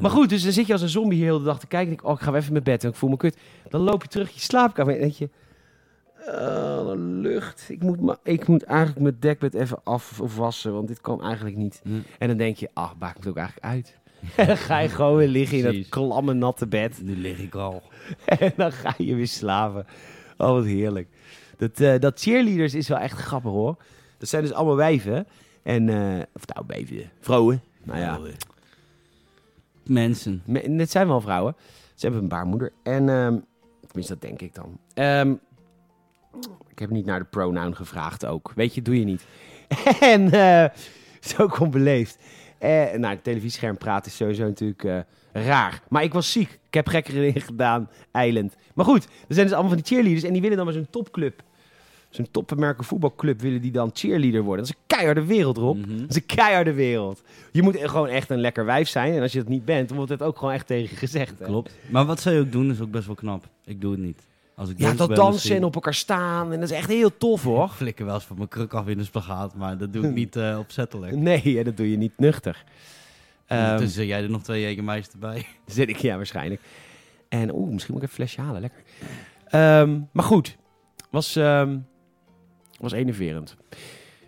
Speaker 1: Maar goed, dus dan zit je als een zombie hier heel de dag te kijken. En denk, ik, oh, ik ga wel even in mijn bed en ik voel me kut. Dan loop je terug in je slaapkamer en denk je... Oh, de lucht. Ik moet, ma- ik moet eigenlijk mijn dekbed even afwassen, want dit kan eigenlijk niet.
Speaker 2: Hm.
Speaker 1: En dan denk je, ach, maakt het ook eigenlijk uit. En dan ga je gewoon weer liggen in dat
Speaker 2: Precies.
Speaker 1: klamme, natte bed.
Speaker 2: Nu lig ik al.
Speaker 1: En dan ga je weer slapen. Oh, wat heerlijk. Dat, eh, dat cheerleaders is wel echt grappig hoor. Dat zijn dus allemaal wijven. En, eh, of nou, wijven. Vrouwen. Nou ja,
Speaker 2: Mensen.
Speaker 1: me- het zijn wel vrouwen. Ze hebben een baarmoeder. En, ehm, tenminste, dat denk ik dan. Ehm, ik heb niet naar de pronoun gevraagd ook. Weet je, doe je niet. en eh, zo komt beleefd. Eh, nou, het televisiescherm praten is sowieso natuurlijk eh, raar. Maar ik was ziek. Ik heb gekker erin gedaan. Eiland. Maar goed, er zijn dus allemaal van die cheerleaders. En die willen dan maar zo'n topclub. Zo'n toppenmerken voetbalclub willen die dan cheerleader worden. Dat is een keiharde wereld, Rob.
Speaker 2: Mhm.
Speaker 1: Dat is een keiharde wereld. Je moet e- gewoon echt een lekker wijf zijn. En als je dat niet bent, dan wordt het ook gewoon echt tegen je gezegd. hè.
Speaker 2: Klopt. Maar wat zij ook doen is ook best wel knap. Ik doe het niet. Als ik
Speaker 1: Ja,
Speaker 2: dans
Speaker 1: dat
Speaker 2: ben, dan
Speaker 1: dansen
Speaker 2: zie
Speaker 1: en
Speaker 2: ik-
Speaker 1: op elkaar staan. En dat is echt heel tof, hoor.
Speaker 2: Ik flikker wel eens van mijn kruk af in de spagaat, maar dat
Speaker 1: Hm.
Speaker 2: doe ik niet eh, opzettelijk.
Speaker 1: Nee, hè, dat doe je niet nuchter. Ehm,
Speaker 2: Ondertussen zit jij er nog twee jegermeisters bij.
Speaker 1: zit ik, ja, waarschijnlijk. En oeh, misschien moet ik even een flesje halen, lekker. Ehm, maar goed, was, ehm, was enerverend.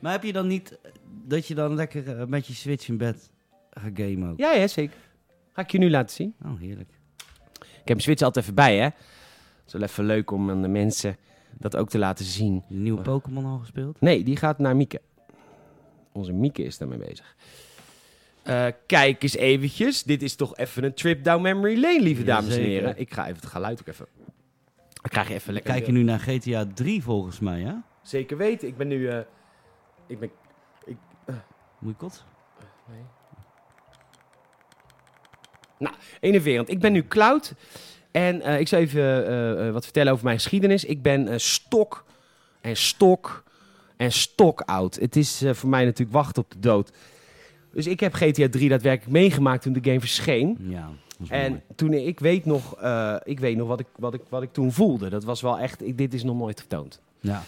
Speaker 2: Maar heb je dan niet eh, dat je dan lekker eh, met je Switch in bed gaat gamen ook?
Speaker 1: Ja, ja, zeker. Ga ik je nu laten zien.
Speaker 2: Oh, heerlijk.
Speaker 1: Ik heb mijn Switch altijd even bij, hè. Het is wel even leuk om aan de mensen dat ook te laten zien.
Speaker 2: De nieuwe Pokémon al gespeeld?
Speaker 1: Nee, die gaat naar Mieke. Onze Mieke is daarmee bezig. Eh, kijk eens eventjes. Dit is toch even een trip down memory lane, lieve dames en
Speaker 2: Jazeker.
Speaker 1: heren. Ik ga even het geluid ook even... Ik krijg je even lekker...
Speaker 2: Kijk je nu naar GTA 3 volgens mij, hè?
Speaker 1: Zeker weten. Ik ben nu... eh, ik ben...
Speaker 2: Moet je kot?
Speaker 1: Nou, enerverend. Ik ben nu Cloud. En eh, ik zal even eh, eh, wat vertellen over mijn geschiedenis. Ik ben eh, stok en stok en stokoud. Het is eh, voor mij natuurlijk wachten op de dood. Dus ik heb GTA 3 daadwerkelijk meegemaakt toen de game verscheen.
Speaker 2: Ja. dat is
Speaker 1: Hm? En
Speaker 2: mooi.
Speaker 1: toen ik weet nog, eh, ik weet nog wat, ik, wat, ik, wat ik toen voelde. Dat was wel echt, ik, dit is nog nooit vertoond.
Speaker 2: Ja.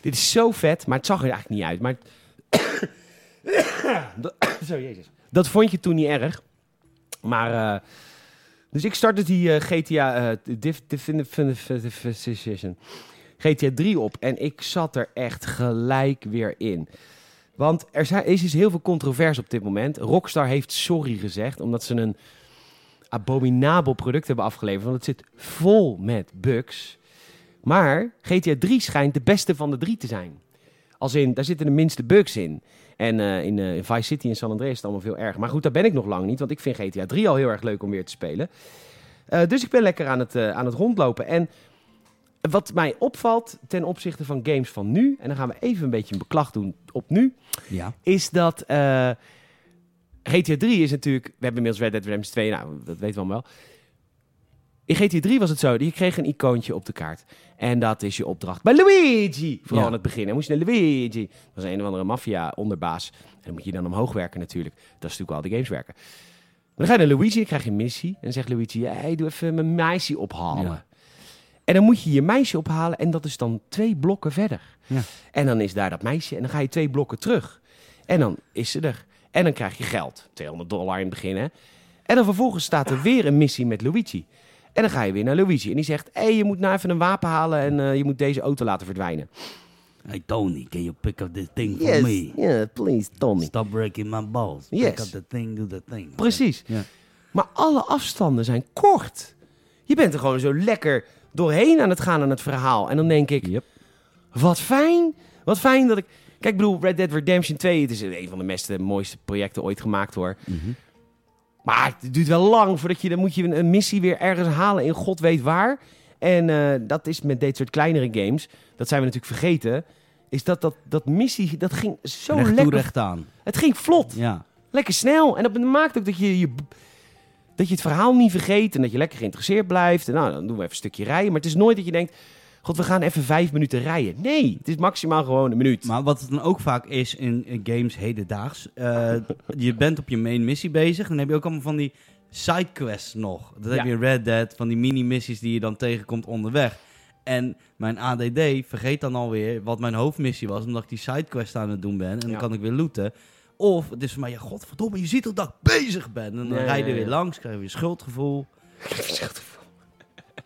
Speaker 1: Dit is zo vet, maar het zag er eigenlijk niet uit. Maar... Dat- Zo, jezus. Dat vond je toen niet erg. Maar... eh, dus ik startte die eh, GTA... eh, Dif- Definitive GTA 3 op. En ik zat er echt gelijk weer in. Want er zijn, is dus heel veel controverse op dit moment. Rockstar heeft sorry gezegd, omdat ze een abominabel product hebben afgeleverd. Want het zit vol met bugs. Maar GTA 3 schijnt de beste van de drie te zijn. Als in, daar zitten de minste bugs in. En eh, in, eh, in Vice City en San Andreas is het allemaal veel erg. Maar goed, daar ben ik nog lang niet, want ik vind GTA 3 al heel erg leuk om weer te spelen. Eh, dus ik ben lekker aan het, eh, aan het rondlopen. En wat mij opvalt ten opzichte van games van nu, en dan gaan we even een beetje een beklag doen op nu,
Speaker 2: Ja.
Speaker 1: is dat eh GTA 3 is natuurlijk... We hebben inmiddels Red Dead Redemption 2, nou, dat weten we allemaal wel. In GTA 3 was het zo, je kreeg een icoontje op de kaart. En dat is je opdracht bij Luigi. Vooral
Speaker 2: Ja.
Speaker 1: aan het begin. Dan moest je naar Luigi. Dat was een of andere maffia-onderbaas. En dan moet je dan omhoog werken natuurlijk. Dat is natuurlijk wel al de games werken. Maar dan ga je naar Luigi en dan krijg je een missie. En dan zegt Luigi, hey, doe even mijn meisje ophalen.
Speaker 2: Ja.
Speaker 1: En dan moet je je meisje ophalen en dat is dan twee blokken verder.
Speaker 2: Ja.
Speaker 1: En dan is daar dat meisje en dan ga je twee blokken terug. En dan is ze er. En dan krijg je geld. 200 dollar in het begin, hè. En dan vervolgens staat er weer een missie met Luigi. En dan ga je weer naar Luigi. En die zegt, hé, hey, je moet nou even een wapen halen en eh, je moet deze auto laten verdwijnen.
Speaker 2: Hey Tony, can you pick up this thing for
Speaker 1: Yes,
Speaker 2: me?
Speaker 1: yeah, please, Tommy.
Speaker 2: Stop breaking my balls. Pick
Speaker 1: Yes.
Speaker 2: up the thing, do the thing.
Speaker 1: Precies.
Speaker 2: Ja.
Speaker 1: Maar alle afstanden zijn kort. Je bent er gewoon zo lekker doorheen aan het gaan aan het verhaal. En dan denk ik,
Speaker 2: Yep.
Speaker 1: wat fijn. Wat fijn dat ik... Kijk, ik bedoel, Red Dead Redemption 2, het is een van de beste, mooiste projecten ooit gemaakt hoor.
Speaker 2: Mhm.
Speaker 1: Maar het duurt wel lang voordat je, dan moet je een, een missie weer ergens halen in god weet waar. En eh, dat is met dit soort kleinere games, dat zijn we natuurlijk vergeten, is dat dat, dat missie, dat ging zo
Speaker 2: recht toe,
Speaker 1: lekker.
Speaker 2: recht aan.
Speaker 1: Het ging vlot.
Speaker 2: Ja.
Speaker 1: Lekker snel. En dat maakt ook dat je, je, dat je het verhaal niet vergeet en dat je lekker geïnteresseerd blijft. En nou, dan doen we even een stukje rijden. Maar het is nooit dat je denkt, god, we gaan even vijf minuten rijden. Nee, het is maximaal gewoon een minuut.
Speaker 2: Maar wat het dan ook vaak is in eh, games hedendaags, eh, je bent op je main missie bezig, dan heb je ook allemaal van die sidequests nog. Dat heb
Speaker 1: Ja.
Speaker 2: je in Red Dead, van die mini-missies die je dan tegenkomt onderweg. En mijn ADD vergeet dan alweer wat mijn hoofdmissie was, omdat ik die sidequest aan het doen ben en dan
Speaker 1: Ja.
Speaker 2: kan ik weer looten. Of het is voor mij, ja godverdomme, je ziet al dat ik bezig ben. En dan
Speaker 1: Ja,
Speaker 2: rijd je er
Speaker 1: ja, ja.
Speaker 2: weer langs, krijg je weer schuldgevoel.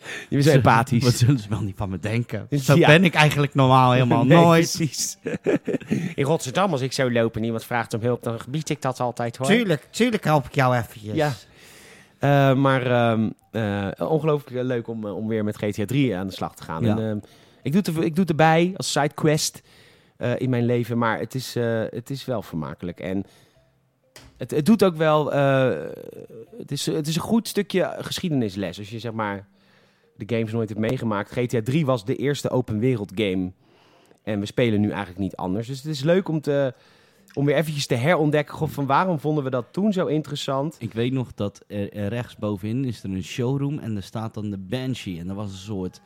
Speaker 1: Je bent zo empathisch.
Speaker 2: Wat zullen ze wel niet van me denken? Zo
Speaker 1: Ja.
Speaker 2: ben ik eigenlijk normaal helemaal
Speaker 1: Nee,
Speaker 2: nooit.
Speaker 1: Precies. In Rotterdam, als ik zo loop en iemand vraagt om hulp, dan gebied ik dat altijd hoor.
Speaker 2: Tuurlijk, tuurlijk help ik jou eventjes.
Speaker 1: Ja. Eh, maar ehm, eh, ongelooflijk eh, leuk om, eh, om weer met GTA 3 aan de slag te gaan.
Speaker 2: Ja.
Speaker 1: En, ehm, ik, doe het er, ik doe het erbij als sidequest eh, in mijn leven, maar het is, eh, het is wel vermakelijk. En het, het doet ook wel... eh, het, is, het is een goed stukje geschiedenisles. Als je zeg maar de games nooit hebt meegemaakt. GTA 3 was de eerste open wereld game. En we spelen nu eigenlijk niet anders. Dus het is leuk om, te, om weer eventjes te herontdekken... Goh, van waarom vonden we dat toen zo interessant?
Speaker 2: Ik weet nog dat er, er rechts bovenin is er een showroom en daar staat dan de Banshee. En dat was een soort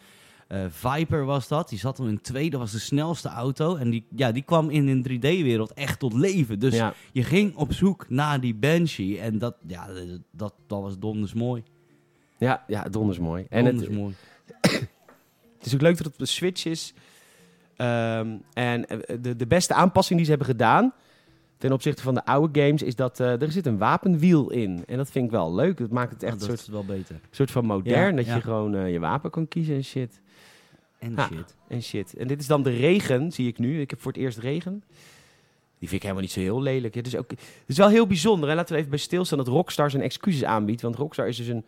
Speaker 2: eh, Viper was dat. Die zat dan in twee, dat was de snelste auto. En die, ja, die kwam in een 3D-wereld echt tot leven. Dus
Speaker 1: ja.
Speaker 2: je ging op zoek naar die Banshee. En dat, ja, dat, dat was donders mooi.
Speaker 1: Ja, ja, donders mooi. En
Speaker 2: En
Speaker 1: het,
Speaker 2: donders mooi.
Speaker 1: het is ook leuk dat het op de Switch is. Ehm, en eh, de, de beste aanpassing die ze hebben gedaan ten opzichte van de oude games is dat eh, er zit een wapenwiel in. En dat vind ik wel leuk. Dat maakt het echt
Speaker 2: Ah, dat
Speaker 1: een soort,
Speaker 2: is wel beter.
Speaker 1: soort van modern.
Speaker 2: Ja,
Speaker 1: dat
Speaker 2: ja.
Speaker 1: je gewoon eh, je wapen kan kiezen en shit.
Speaker 2: En
Speaker 1: Ja.
Speaker 2: shit.
Speaker 1: En shit. En dit is dan de regen, zie ik nu. Ik heb voor het eerst regen. Die vind ik helemaal niet zo heel lelijk. Het is, ook, het is wel heel bijzonder. Hè? Laten we even bij stilstaan dat Rockstar zijn excuses aanbiedt. Want Rockstar is dus een,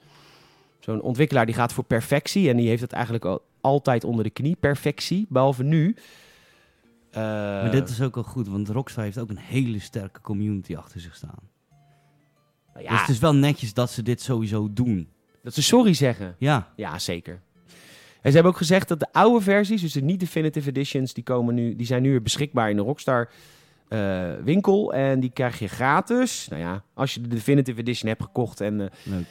Speaker 1: zo'n ontwikkelaar die gaat voor perfectie. En die heeft dat eigenlijk al, altijd onder de knie. Perfectie, behalve nu. Eh,
Speaker 2: maar dit is ook wel goed, want Rockstar heeft ook een hele sterke community achter zich staan.
Speaker 1: nou
Speaker 2: Dus
Speaker 1: ja,
Speaker 2: het is wel netjes dat ze dit sowieso doen.
Speaker 1: dat ze sorry zeggen.
Speaker 2: Ja,
Speaker 1: Ja, zeker. En ze hebben ook gezegd dat de oude versies, dus de niet-definitive editions, die, komen nu, die zijn nu weer beschikbaar in de Rockstar eh, winkel. En die krijg je gratis. Nou ja, als je de definitive edition hebt gekocht, en, eh,
Speaker 2: leuk.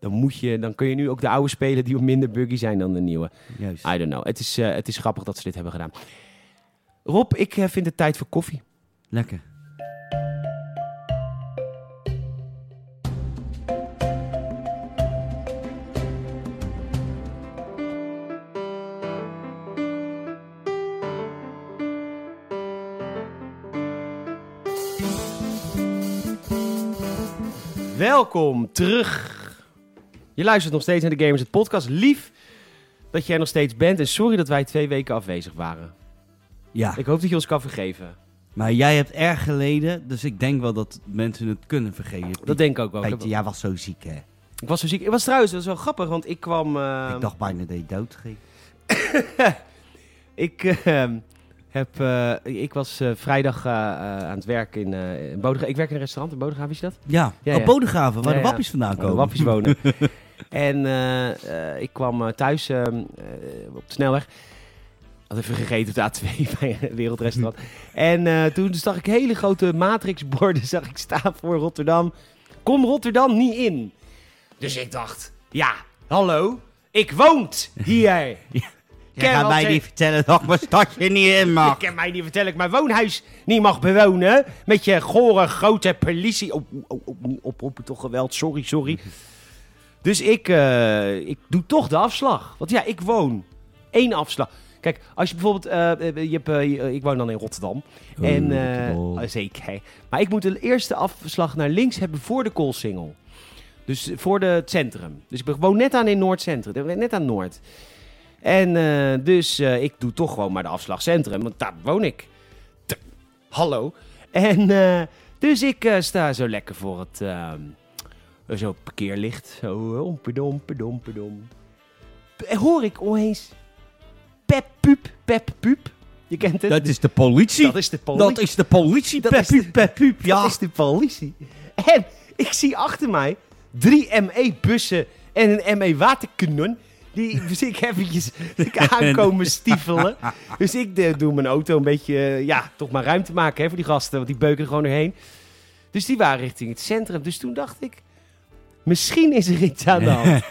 Speaker 1: dan, moet je, dan kun je nu ook de oude spelen die wat minder buggy zijn dan de nieuwe.
Speaker 2: Juist.
Speaker 1: I don't know. Het is, eh, het is grappig dat ze dit hebben gedaan. Rob, ik eh, vind het tijd voor koffie.
Speaker 2: Lekker.
Speaker 1: Welkom terug. Je luistert nog steeds naar de Gamers het Podcast. Lief dat jij er nog steeds bent. En sorry dat wij twee weken afwezig waren.
Speaker 2: Ja.
Speaker 1: Ik hoop dat je ons kan vergeven.
Speaker 2: Maar jij hebt erg geleden, dus ik denk wel dat mensen het kunnen vergeten.
Speaker 1: Dat denk ik ook wel.
Speaker 2: Piet,
Speaker 1: Ik, heb-
Speaker 2: jij was zo ziek, hè?
Speaker 1: ik was zo ziek. Ik was trouwens, dat is wel grappig, want ik kwam... eh,
Speaker 2: ik dacht bijna dat je dood ging.
Speaker 1: Ik, eh, heb, eh, ik was eh, vrijdag eh, eh, aan het werk in, eh in Bodegraven. Ik werk in een restaurant in Bodegraven, wist je dat?
Speaker 2: Ja,
Speaker 1: Ja,
Speaker 2: op
Speaker 1: ja.
Speaker 2: Bodegraven, waar
Speaker 1: Ja,
Speaker 2: de
Speaker 1: ja.
Speaker 2: wappies vandaan
Speaker 1: Waar de
Speaker 2: komen.
Speaker 1: wappies wonen. en eh, eh, ik kwam eh, thuis eh, eh, op de snelweg. Had even gegeten op de A2 bij een wereldrestaurant. en eh, toen zag ik hele grote matrixborden zag ik staan voor Rotterdam. Kom Rotterdam niet in. Dus ik dacht, ja, hallo, ik woont hier.
Speaker 2: Jij
Speaker 1: Ken
Speaker 2: gaat
Speaker 1: wel
Speaker 2: mij
Speaker 1: tegen-
Speaker 2: niet vertellen dat mijn stadje niet in
Speaker 1: Ik
Speaker 2: mag.
Speaker 1: kan mij niet vertellen dat ik mijn woonhuis niet mag bewonen. Met je gore grote politie. Oh, oh, oh, niet oproepen toch geweld. Sorry, sorry. Dus ik, eh, ik doe toch de afslag. Want ja, ik woon één afslag. Kijk, als je bijvoorbeeld, eh, je hebt, eh, je- ik woon dan in Rotterdam. en, eh,
Speaker 2: Oh,
Speaker 1: zeker. Maar ik moet de eerste afslag naar links hebben voor de Koolsingel. Dus voor de, het centrum. Dus ik woon net aan in Noord-Centrum. Net aan Noord. En eh, dus eh, ik doe toch gewoon maar de afslag Centrum. Want daar woon ik. T- Hallo. En eh, dus ik eh, sta zo lekker voor het... ehm, zo parkeerlicht. Zo ompedom, pedom, pedom. En Hoor ik opeens... Pep, pup, pep, pup. Je kent het?
Speaker 2: dat is de politie.
Speaker 1: Dat is de politie.
Speaker 2: Dat is de politie,
Speaker 1: Dat is de-
Speaker 2: Peppiep, Peppiep.
Speaker 1: Dat
Speaker 2: Ja,
Speaker 1: is de politie. En ik zie achter mij drie ME-bussen en een ME-waterkanon. Die zie ik eventjes ik aankomen stiefelen. Dus ik eh, doe mijn auto een beetje, eh, ja, toch maar ruimte maken hè, voor die gasten. Want die beuken er gewoon doorheen. Dus die waren richting het centrum. Dus toen dacht ik, misschien is er iets aan de hand.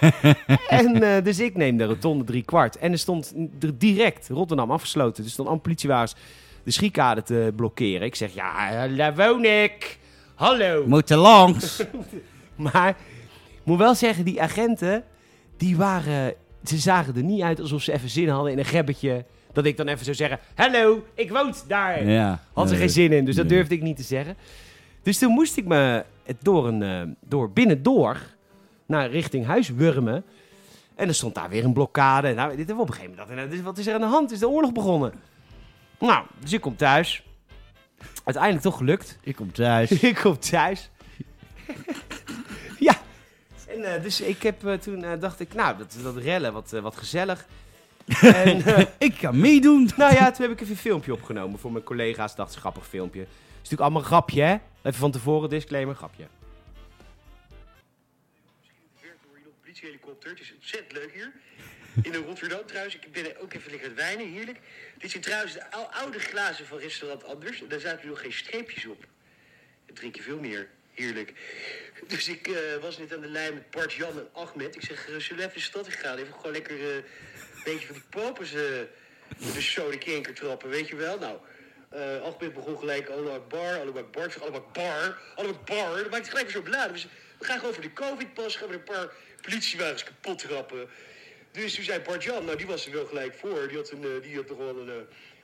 Speaker 1: en eh, dus ik neem de rotonde drie kwart. En er stond er direct Rotterdam afgesloten. Dus dan aan politiewagens de schiekade te blokkeren. Ik zeg, ja, eh, daar woon ik. Hallo.
Speaker 2: moet er langs.
Speaker 1: Maar ik moet wel zeggen, die agenten, die waren... Ze zagen er niet uit alsof ze even zin hadden in een gebbetje. Dat ik dan even zou zeggen, hallo, ik woon daar.
Speaker 2: Ja.
Speaker 1: Had ze
Speaker 2: Nee.
Speaker 1: geen zin in, dus dat
Speaker 2: Nee.
Speaker 1: durfde ik niet te zeggen. Dus toen moest ik me het door een, eh, door binnendoor naar richting huis wurmen. En er stond daar weer een blokkade. Nou, dit hebben we op een gegeven moment. dacht ik, nou, dit- Wat is er aan de hand? Is de oorlog begonnen? Nou, dus ik kom thuis. Uiteindelijk toch gelukt.
Speaker 2: Ik kom thuis.
Speaker 1: Ik kom thuis. ja. En, eh, dus ik heb eh, toen eh, dacht ik, nou, dat, dat rellen, wat, eh, wat gezellig. en, eh,
Speaker 2: Ik ga meedoen.
Speaker 1: nou ja, toen heb ik even een filmpje opgenomen voor mijn collega's. Dacht, grappig filmpje. Het is natuurlijk allemaal een grapje, hè? Even van tevoren, disclaimer, grapje.
Speaker 3: Werkt door hier op politiehelikopter. Het is ontzettend leuk hier. In de Rotterdam trouwens. Ik ben ook even lekker aan het wijnen, heerlijk. Dit zijn trouwens de ou- oude glazen van restaurant Anders. Daar zaten nog geen streepjes op. Dan drink je veel meer. Heerlijk. Dus ik eh, was net aan de lijn met Bart, Jan en Ahmed. Ik zeg, eh, zullen we even de stad in gaan? Even gewoon lekker eh, een beetje van die popers eh met de soda kanker trappen, weet je wel? Nou, eh Ahmed begon gelijk, Allah Akbar, Allah Akbar, Allah Akbar, Allah Akbar. Dat maakt het gelijk weer zo beladen. Dus we gaan gewoon voor de covid-pas, gaan we een paar politiewagens kapot trappen. Dus toen zei Bart Jan, nou die was er wel gelijk voor. Die had, een, eh, die had nog wel een, eh,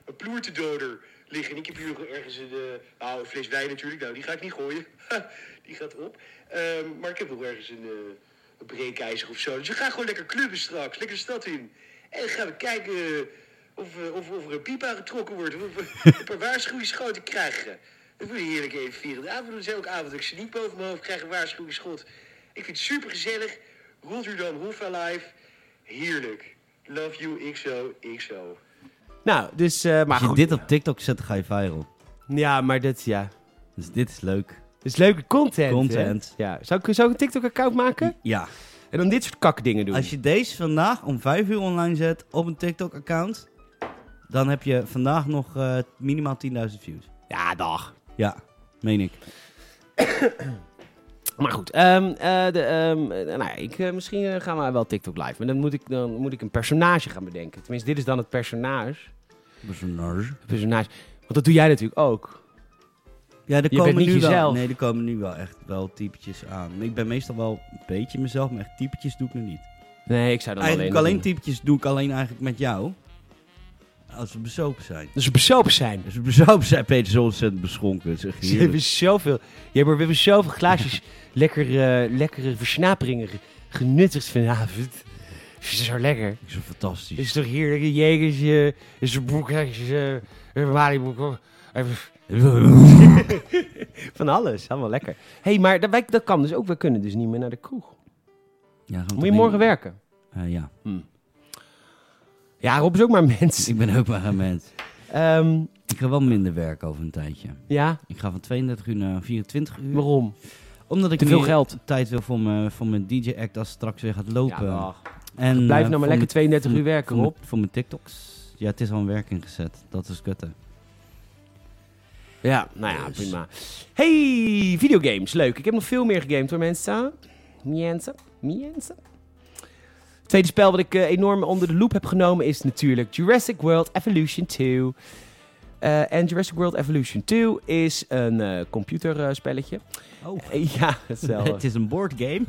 Speaker 3: een ploertendoder liggen. En ik heb hier nog ergens een, eh, nou, een fles wijn natuurlijk. Nou, die ga ik niet gooien. die gaat op. Ehm, maar ik heb nog ergens een, eh, een breekijzer of zo. Dus we gaan gewoon lekker clubben straks. Lekker de stad in. En dan gaan we kijken eh, of, eh, of, of er een piep aangetrokken wordt. Of we een paar waarschuwingsschoten krijgen. Dat wil je heerlijk even vieren. De avond is elke avond. dat Ik ze niet boven mijn hoofd krijg een waarschuwingsschot. Ik vind het super gezellig. Rotterdam Hoffa Live. Heerlijk. Love you, XO, XO.
Speaker 1: Nou, dus, eh, maar
Speaker 2: Als je
Speaker 1: goed.
Speaker 2: dit op TikTok zet, ga je viral.
Speaker 1: Ja, maar dit, ja.
Speaker 2: Dus dit is leuk.
Speaker 1: Het is leuke content. hè?
Speaker 2: Content.
Speaker 1: Ja. Zou ik, zou ik een TikTok-account maken?
Speaker 2: Ja.
Speaker 1: En dan dit soort kakdingen doen.
Speaker 2: Als je deze vandaag om 5 uur online zet op een TikTok-account, dan heb je vandaag nog eh, minimaal 10.000 views.
Speaker 1: Ja, dag.
Speaker 2: Ja, meen ik.
Speaker 1: Maar goed, ehm, eh, de, ehm, eh, nou ja, ik, eh, misschien eh, gaan we wel TikTok live. Maar dan moet, ik, dan moet ik een personage gaan bedenken. Tenminste, dit is dan het personage.
Speaker 2: Personage.
Speaker 1: Het personage. Want dat doe jij natuurlijk ook.
Speaker 2: Ja, er
Speaker 1: Je
Speaker 2: komen
Speaker 1: bent niet
Speaker 2: nu wel,
Speaker 1: jezelf.
Speaker 2: nee, er komen nu wel echt wel typetjes aan. Ik ben meestal wel een beetje mezelf, maar echt typetjes doe ik nu niet.
Speaker 1: Nee, ik zou dan
Speaker 2: Eigenlijk
Speaker 1: alleen...
Speaker 2: alleen typetjes doe ik alleen eigenlijk met jou. Als we bezopen zijn.
Speaker 1: Dus we bezopen zijn.
Speaker 2: Als we bezopen zijn, Peter zo ontzettend beschonken. Zeg,
Speaker 1: Je hebt
Speaker 2: heerlijk.
Speaker 1: er zoveel, je hebt er weer zoveel glaasjes lekker, eh, lekkere versnaperingen ge- genuttigd vanavond. Het is zo lekker.
Speaker 2: Zo fantastisch.
Speaker 1: Het is toch heerlijk. eh, Een Jegersje, het is een broekje, een Malibu. Van alles, allemaal lekker. Hé, hey, maar dat, wij- dat kan dus ook. We kunnen dus niet meer naar de kroeg.
Speaker 2: Ja, gaan we
Speaker 1: Moet je
Speaker 2: toch
Speaker 1: morgen
Speaker 2: niet-
Speaker 1: werken?
Speaker 2: Eh, ja,
Speaker 1: Ja, Rob is ook maar een mens.
Speaker 2: ik ben ook maar een mens.
Speaker 1: Ehm,
Speaker 2: Ik ga wel minder werken over een tijdje.
Speaker 1: ja,
Speaker 2: Ik ga van 32 uur naar 24 uur.
Speaker 1: waarom?
Speaker 2: Omdat ik
Speaker 1: Te veel
Speaker 2: meer
Speaker 1: geld.
Speaker 2: tijd wil voor mijn, voor mijn DJ-act als het straks weer gaat
Speaker 1: Ja,
Speaker 2: lopen.
Speaker 1: dag. Blijf
Speaker 2: en, eh,
Speaker 1: nou maar
Speaker 2: voor
Speaker 1: lekker
Speaker 2: mijn-
Speaker 1: 32
Speaker 2: voor
Speaker 1: uur
Speaker 2: mijn-
Speaker 1: werken,
Speaker 2: voor
Speaker 1: Rob.
Speaker 2: mijn- Voor mijn TikToks. Ja, het is al een werk ingezet. Dat is kutte.
Speaker 1: Ja, nou ja,
Speaker 2: Dus.
Speaker 1: prima. Hey, videogames, leuk. Ik heb nog veel meer gegamed hoor, mensen. Mensen, mensen. Het tweede spel wat ik eh, enorm onder de loep heb genomen is natuurlijk Jurassic World Evolution 2. Eh, en Jurassic World Evolution 2 is een eh, computerspelletje.
Speaker 2: Oh,
Speaker 1: ja, hetzelfde.
Speaker 2: het is een boardgame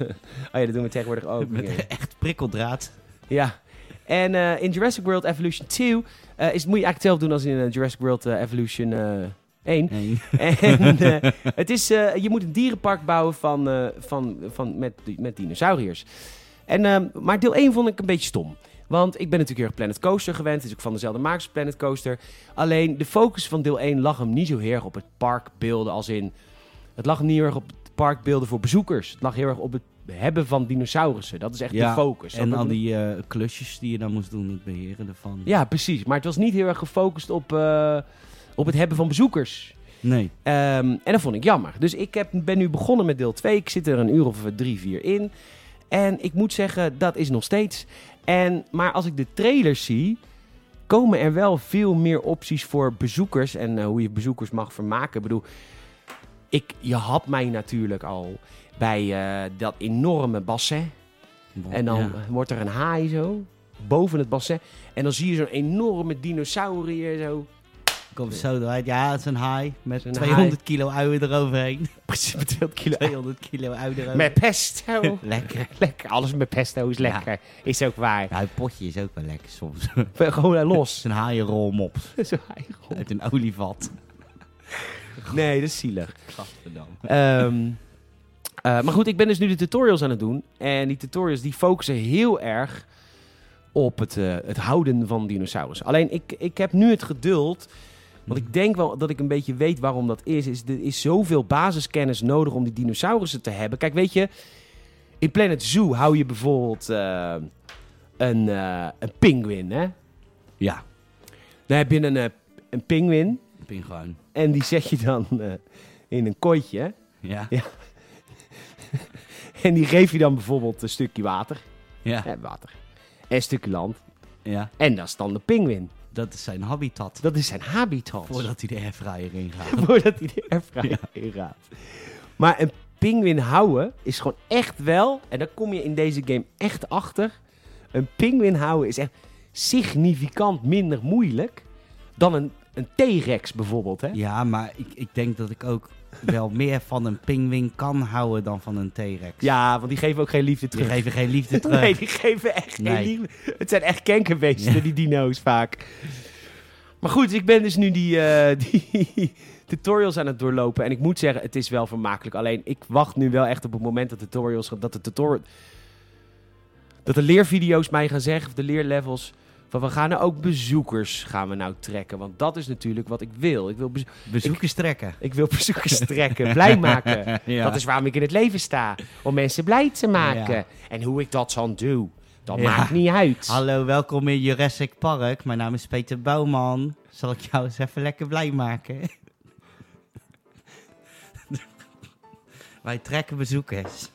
Speaker 1: Oh ja, dat doen we tegenwoordig ook.
Speaker 2: met echt prikkeldraad.
Speaker 1: Ja. En eh, in Jurassic World Evolution 2 eh, is, moet je eigenlijk hetzelfde doen als in eh, Jurassic World eh, Evolution eh 1.
Speaker 2: Nee.
Speaker 1: En eh, het is, eh, je moet een dierenpark bouwen van, eh, van, van, met, met dinosauriërs. En, ehm, maar deel 1 vond ik een beetje stom. Want ik ben natuurlijk heel erg Planet Coaster gewend. Het is ook van dezelfde makers Planet Coaster. Alleen de focus van deel 1 lag hem niet zo heel erg op het parkbeelden. Als in, het lag hem niet heel erg op het parkbeelden voor bezoekers. Het lag heel erg op het hebben van dinosaurussen. Dat is echt
Speaker 2: Ja,
Speaker 1: de focus.
Speaker 2: En
Speaker 1: Dat-
Speaker 2: al die eh, klusjes die je dan moest doen, het beheren ervan.
Speaker 1: Ja, precies. Maar het was niet heel erg gefocust op, eh, op het hebben van bezoekers.
Speaker 2: Nee.
Speaker 1: Ehm, en dat vond ik jammer. Dus ik heb, ben nu begonnen met deel 2. Ik zit er een uur of drie, vier in. En ik moet zeggen, dat is nog steeds. En, maar als ik de trailers zie, komen er wel veel meer opties voor bezoekers. En eh, hoe je bezoekers mag vermaken. Ik bedoel, ik, je had mij natuurlijk al bij eh, dat enorme bassin. En dan
Speaker 2: Ja.
Speaker 1: wordt er een haai zo, boven het bassin. En dan zie je zo'n enorme dinosaurier zo.
Speaker 2: Komt zo eruit. Ja, het is een haai met
Speaker 1: Het is eh, een
Speaker 2: 200 kilo uien eroverheen.
Speaker 1: Precies met 200 kilo.
Speaker 2: 200 kilo uien eroverheen.
Speaker 1: Met pesto.
Speaker 2: Lekker.
Speaker 1: Lekker, alles met pesto is lekker. Is ook waar.
Speaker 2: Ja, het potje is ook wel lekker soms. Het
Speaker 1: Gewoon eh,
Speaker 2: is
Speaker 1: los.
Speaker 2: een haaienrolmops
Speaker 1: Zo eigenlijk.
Speaker 2: uit een olievat.
Speaker 1: nee, dat is zielig.
Speaker 2: Gadverdamme.
Speaker 1: Ehm, eh, maar goed, ik ben dus nu de tutorials aan het doen. En die tutorials die focussen heel erg op het, eh, het houden van dinosaurussen. Alleen ik, ik heb nu het geduld. Want ik denk wel dat ik een beetje weet waarom dat is. is er is zoveel basiskennis nodig om die dinosaurussen te hebben. Kijk, weet je, in Planet Zoo hou je bijvoorbeeld eh, een, eh een pinguïn, hè?
Speaker 2: Ja,
Speaker 1: Dan heb je een, eh, een pinguïn
Speaker 2: een pinguïn.
Speaker 1: en die zet je dan eh, in een kooitje.
Speaker 2: Ja.
Speaker 1: Ja. En die geef je dan bijvoorbeeld een stukje water.
Speaker 2: Ja.
Speaker 1: Eh, water. En een stukje land.
Speaker 2: ja.
Speaker 1: En dat is dan de pinguïn.
Speaker 2: Dat is zijn habitat.
Speaker 1: Dat is zijn habitat.
Speaker 2: Voordat hij de airfryer ingaat.
Speaker 1: Voordat hij de airfryer
Speaker 2: Ja.
Speaker 1: ingaat. Maar een pinguïn houden is gewoon echt wel... En daar kom je in deze game echt achter. Een pinguïn houden is echt significant minder moeilijk... dan een, een T-rex bijvoorbeeld, hè?
Speaker 2: Ja, maar ik, ik denk dat ik ook wel meer van een pinguïn kan houden dan van een T-rex.
Speaker 1: Ja, want die geven ook geen liefde
Speaker 2: Die
Speaker 1: terug.
Speaker 2: geven geen liefde terug.
Speaker 1: Nee, die geven echt geen
Speaker 2: Nee.
Speaker 1: liefde. Het zijn echt kankerbeesten, die dino's vaak. Maar goed, ik ben dus nu die, eh, die tutorials aan het doorlopen. En ik moet zeggen, het is wel vermakelijk. Alleen, ik wacht nu wel echt op het moment dat, tutorials, dat de tutorial... Dat de leervideo's mij gaan zeggen, of de leerlevels... Van we gaan nou ook bezoekers gaan we nou trekken. Want dat is natuurlijk wat ik wil. Ik wil, bezo-
Speaker 2: Bezoekers trekken.
Speaker 1: ik wil bezoekers trekken, blij maken.
Speaker 2: Ja.
Speaker 1: Dat is waarom ik in het leven sta. Om mensen blij te maken.
Speaker 2: Ja.
Speaker 1: En hoe ik dat dan doe, dat
Speaker 2: Ja.
Speaker 1: maakt niet uit.
Speaker 2: Hallo, welkom in Jurassic Park. Mijn naam is Peter Bouwman. Zal ik jou eens even lekker blij maken? Wij trekken bezoekers.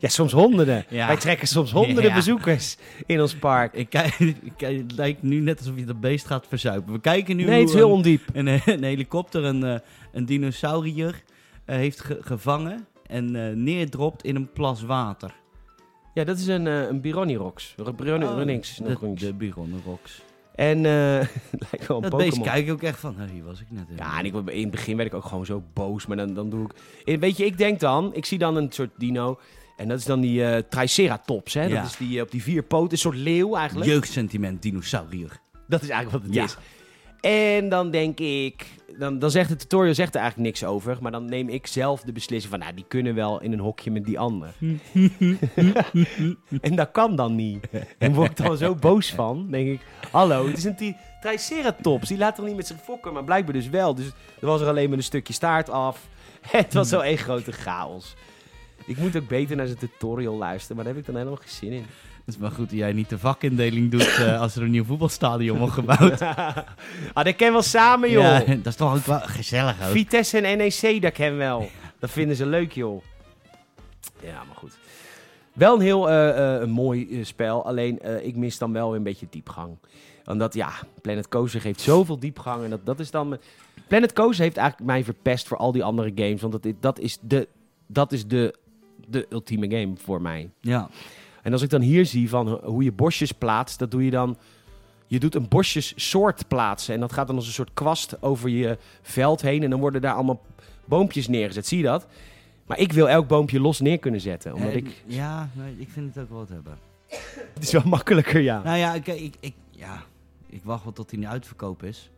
Speaker 1: Ja, soms honderden.
Speaker 2: Ja.
Speaker 1: Wij trekken soms honderden
Speaker 2: Ja.
Speaker 1: bezoekers in ons park.
Speaker 2: Ik kijk, ik kijk- het lijkt nu net alsof je dat beest gaat verzuipen. We kijken nu
Speaker 1: Nee, het is
Speaker 2: hoe
Speaker 1: heel
Speaker 2: een-
Speaker 1: ondiep.
Speaker 2: een, een helikopter een, eh, een dinosaurier eh, heeft ge- gevangen en eh, neerdropt in een plas water.
Speaker 1: Ja, dat is een, eh, een Bironirox. R- Bironi- Runnings.
Speaker 2: Oh, De,
Speaker 1: Runnings.
Speaker 2: de Biron Rocks.
Speaker 1: En eh, het lijkt wel een
Speaker 2: Dat beest
Speaker 1: Pokémon.
Speaker 2: kijk ik ook echt van, hé, hier was ik net. in.
Speaker 1: Ja, en ik, word- in het begin werd ik ook gewoon zo boos. Maar dan, dan doe ik... En Weet je, ik denk dan... Ik zie dan een soort dino... En dat is dan die eh, Triceratops, hè?
Speaker 2: Ja.
Speaker 1: Dat is die eh, op die vier poten, een soort leeuw eigenlijk.
Speaker 2: Jeugdsentiment dinosaurier.
Speaker 1: Dat is eigenlijk wat het
Speaker 2: Ja.
Speaker 1: is. En dan denk ik, dan, dan zegt de tutorial zegt er eigenlijk niks over, maar dan neem ik zelf de beslissing van, nou, die kunnen wel in een hokje met die ander. en dat kan dan niet. En word ik dan zo boos van, denk ik, hallo, het is een tri- triceratops, die laat er niet met zich fokken, maar blijkbaar dus wel. Dus er was er alleen maar een stukje staart af. Het was zo één grote chaos. Ik moet ook beter naar zijn tutorial luisteren, maar daar heb ik dan helemaal geen zin in.
Speaker 2: Het is maar goed dat jij niet de vakindeling doet eh, als er een nieuw voetbalstadion wordt gebouwd.
Speaker 1: ah, dat ken wel samen, joh.
Speaker 2: Ja, dat is toch ook wel gezellig ook.
Speaker 1: Vitesse en E NEC, dat ken wel. Dat vinden ze leuk, joh. Ja, maar goed. Wel een heel eh, eh, een mooi eh, spel. Alleen, eh, ik mis dan wel een beetje diepgang. Omdat, ja, Planet Coaster geeft zoveel diepgang. En dat, dat is dan... mijn- Planet Coaster heeft eigenlijk mij verpest voor al die andere games. Want dat, dat is, de, dat is de, de ultieme game voor mij.
Speaker 2: Ja,
Speaker 1: En als ik dan hier zie van ho- hoe je bosjes plaatst, dat doe je dan. Je doet een bosjessoort plaatsen. En dat gaat dan als een soort kwast over je veld heen. En dan worden daar allemaal boompjes neergezet. Zie je dat? Maar ik wil elk boompje los neer kunnen zetten. Omdat
Speaker 2: Eh,
Speaker 1: ik...
Speaker 2: Ja, nee, ik vind het ook wel wat hebben.
Speaker 1: Het is wel makkelijker, ja.
Speaker 2: Nou ja, ik, ik, ik, ja, ik wacht wel tot hij in de uitverkoop is.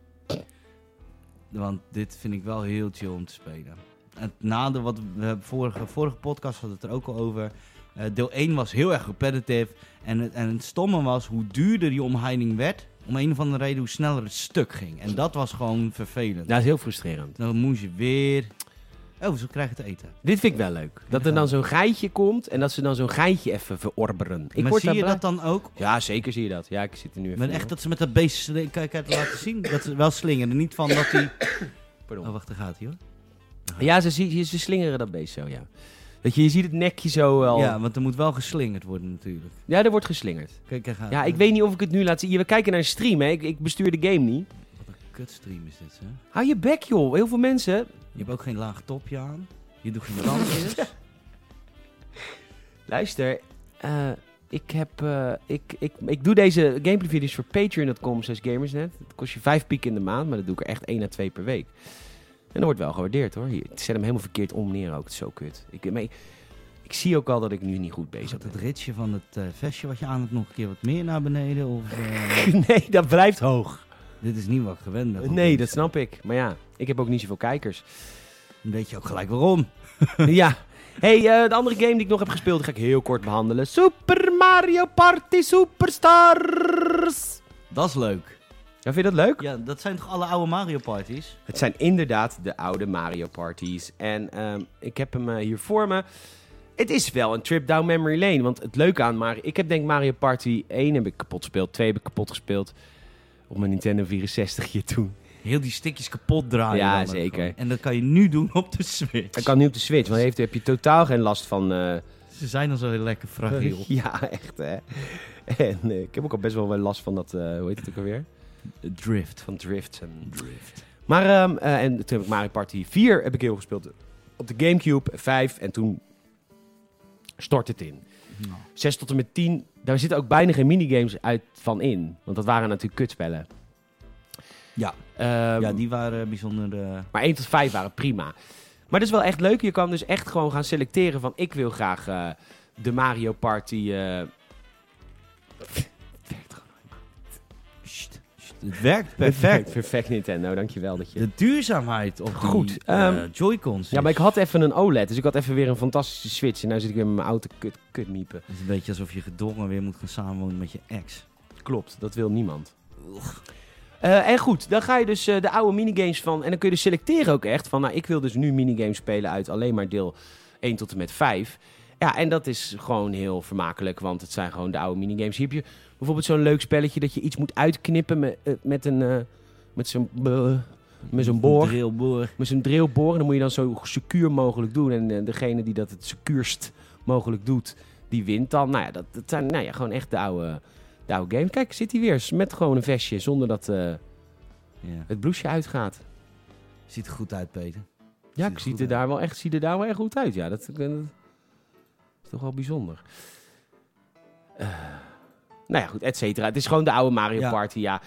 Speaker 2: Want dit vind ik wel heel chill om te spelen. Het nadeel, wat we hebben vorige, vorige podcast hadden we het er ook al over. Eh, deel 1 was heel erg repetitive. En het, en het stomme was, hoe duurder die omheining werd, om een of andere reden, hoe sneller het stuk ging. En dat was gewoon vervelend.
Speaker 1: Dat is heel frustrerend.
Speaker 2: Dan moest je weer... Oh, zo krijg je het eten.
Speaker 1: Dit vind ik wel leuk. Dat er dan zo'n geitje komt en dat ze dan zo'n geitje even verorberen. Ik
Speaker 2: maar
Speaker 1: word
Speaker 2: zie je
Speaker 1: daarbij-
Speaker 2: dat dan ook?
Speaker 1: Ja, zeker zie je dat. Ja, ik zit er nu even...
Speaker 2: Maar echt dat ze met dat beest sli- kijk, kijk, laten zien. Dat ze wel slingeren. Niet van dat Oh. die...
Speaker 1: Pardon.
Speaker 2: Oh, wacht, daar gaat hij hoor.
Speaker 1: Ja, ze, zie- ze slingeren dat beest zo, ja. Weet je, je ziet het nekje zo wel.
Speaker 2: Ja,
Speaker 1: Ja,
Speaker 2: want er moet wel geslingerd worden natuurlijk.
Speaker 1: er wordt geslingerd.
Speaker 2: Kijk, kijk,
Speaker 1: Ja, ik weet niet of ik het nu laat zien. Hier, We kijken naar een stream, hè. Ik, ik bestuur de game niet.
Speaker 2: Wat een kutstream is dit, hè?
Speaker 1: Hou je bek, joh. Heel veel mensen...
Speaker 2: Je hebt ook geen laag topje aan. Je doet geen dansjes.
Speaker 1: Luister, eh, ik, heb, eh, ik, ik, ik doe deze gameplay video's voor patreon.com slash gamersnet. Het kost je vijf piek in de maand, maar dat doe ik er echt één à twee per week. En dat wordt wel gewaardeerd hoor. Hier, ik zet hem helemaal verkeerd om neer ook. Het is zo kut. Ik, maar ik, ik zie ook al dat ik nu niet goed
Speaker 2: Is
Speaker 1: bezig
Speaker 2: dat het
Speaker 1: ben.
Speaker 2: ritsje van het eh, vestje wat je aan hebt nog een keer wat meer naar beneden? Of, eh,
Speaker 1: Nee, dat blijft hoog.
Speaker 2: dit is niet wat ik gewend ben.
Speaker 1: Nee, dat snap ik. Maar ja, ik heb ook niet zoveel kijkers.
Speaker 2: Dan weet je ook gelijk waarom.
Speaker 1: ja. Hey, eh, de andere game die ik nog heb gespeeld, die ga ik heel kort behandelen. Super Mario Party Superstars.
Speaker 2: Dat is leuk.
Speaker 1: Ja, vind je dat leuk?
Speaker 2: Ja, dat zijn toch alle oude Mario Parties?
Speaker 1: Het zijn inderdaad de oude Mario parties. En ehm, ik heb hem eh, hier voor me. Het is wel een trip down memory lane. Want het leuke aan Mario... Ik heb denk Mario Party 1 heb ik kapot gespeeld. 2 heb ik kapot gespeeld. Op mijn Nintendo 64 je toen.
Speaker 2: Heel die stikjes kapot draaien.
Speaker 1: Ja,
Speaker 2: dan ook
Speaker 1: zeker.
Speaker 2: gewoon. En dat kan je nu doen op de Switch.
Speaker 1: Ik kan nu op de Switch. Want heeft, heb je totaal geen last van... eh,
Speaker 2: Ze zijn dan zo heel lekker fragiel.
Speaker 1: ja, echt hè. En eh, ik heb ook al best wel wel last van dat... eh, hoe heet het ook alweer?
Speaker 2: Drift.
Speaker 1: Van drifts en
Speaker 2: Drift.
Speaker 1: Maar, ehm, eh, en toen heb ik Mario Party 4 heb ik heel gespeeld eh, op de Gamecube, 5 en toen stort het in. 6 tot en met 10, daar zitten ook bijna geen minigames uit van in, want dat waren natuurlijk kutspellen.
Speaker 2: Ja.
Speaker 1: Ehm,
Speaker 2: ja, die waren bijzonder... eh,
Speaker 1: Maar 1 tot 5 waren prima. Maar dat is wel echt leuk, je kan dus echt gewoon gaan selecteren van ik wil graag eh, de Mario Party... eh
Speaker 2: Sst, sst, het werkt perfect.
Speaker 1: Perfect Nintendo, dankjewel dat je...
Speaker 2: De duurzaamheid op
Speaker 1: Goed,
Speaker 2: die eh,
Speaker 1: ehm,
Speaker 2: Joy-Cons
Speaker 1: Ja, maar ik
Speaker 2: is-
Speaker 1: had even een OLED, dus ik had even weer een fantastische Switch. En nu zit ik weer met mijn oude kut, kut miepen.
Speaker 2: Het is een beetje alsof je gedwongen weer moet gaan samenwonen met je ex.
Speaker 1: Klopt, dat wil niemand. Eh, en goed, dan ga je dus eh, de oude minigames van. En dan kun je dus selecteren ook echt. Van nou, ik wil dus nu minigames spelen uit alleen maar deel 1 tot en met 5. Ja, en dat is gewoon heel vermakelijk, want het zijn gewoon de oude minigames. Hier heb je bijvoorbeeld zo'n leuk spelletje dat je iets moet uitknippen met, eh, met een. eh, met zo'n. eh, met zo'n boor.
Speaker 2: Drillboor.
Speaker 1: Met zo'n drillboor. En dan moet je dan zo secuur mogelijk doen. En eh, degene die dat het secuurst mogelijk doet, die wint dan. Nou ja, dat, dat zijn nou ja, gewoon echt de oude, de oude games. Kijk, zit hij weer met gewoon een vestje zonder dat eh,
Speaker 2: Ja.
Speaker 1: het blouseje uitgaat.
Speaker 2: Ziet er goed uit, Peter.
Speaker 1: Ja,
Speaker 2: Ziet
Speaker 1: ik
Speaker 2: er
Speaker 1: zie
Speaker 2: goed
Speaker 1: er
Speaker 2: uit.
Speaker 1: daar wel echt, zie er daar wel echt goed uit. Ja, dat, ik ben- dat is toch wel bijzonder. Eh, nou ja, goed, et cetera. Het is gewoon de oude Mario
Speaker 2: Ja.
Speaker 1: Party, ja.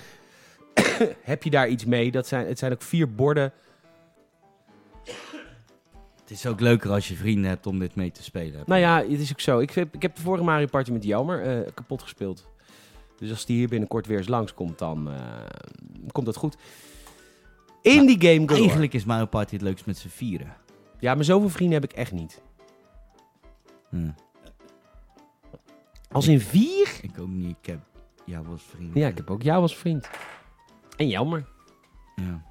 Speaker 1: Heb je daar iets mee? Dat zijn, het zijn ook vier borden.
Speaker 2: Het is ook leuker als je vrienden hebt om dit mee te spelen.
Speaker 1: Nou ja, het is ook zo. Ik heb, ik heb de vorige Mario Party met Jelmer eh, kapot gespeeld. Dus als die hier binnenkort weer eens langskomt, dan eh, komt dat goed. In
Speaker 2: Maar
Speaker 1: die game galore.
Speaker 2: Eigenlijk is Mario Party het leukst met z'n vieren.
Speaker 1: Ja, maar zoveel vrienden heb ik echt niet.
Speaker 2: Hm.
Speaker 1: Als in vier?
Speaker 2: Ik ook niet. Ik heb jou als vriend.
Speaker 1: Ja, ik heb ook jou als vriend. En Jelmer.
Speaker 2: Ja.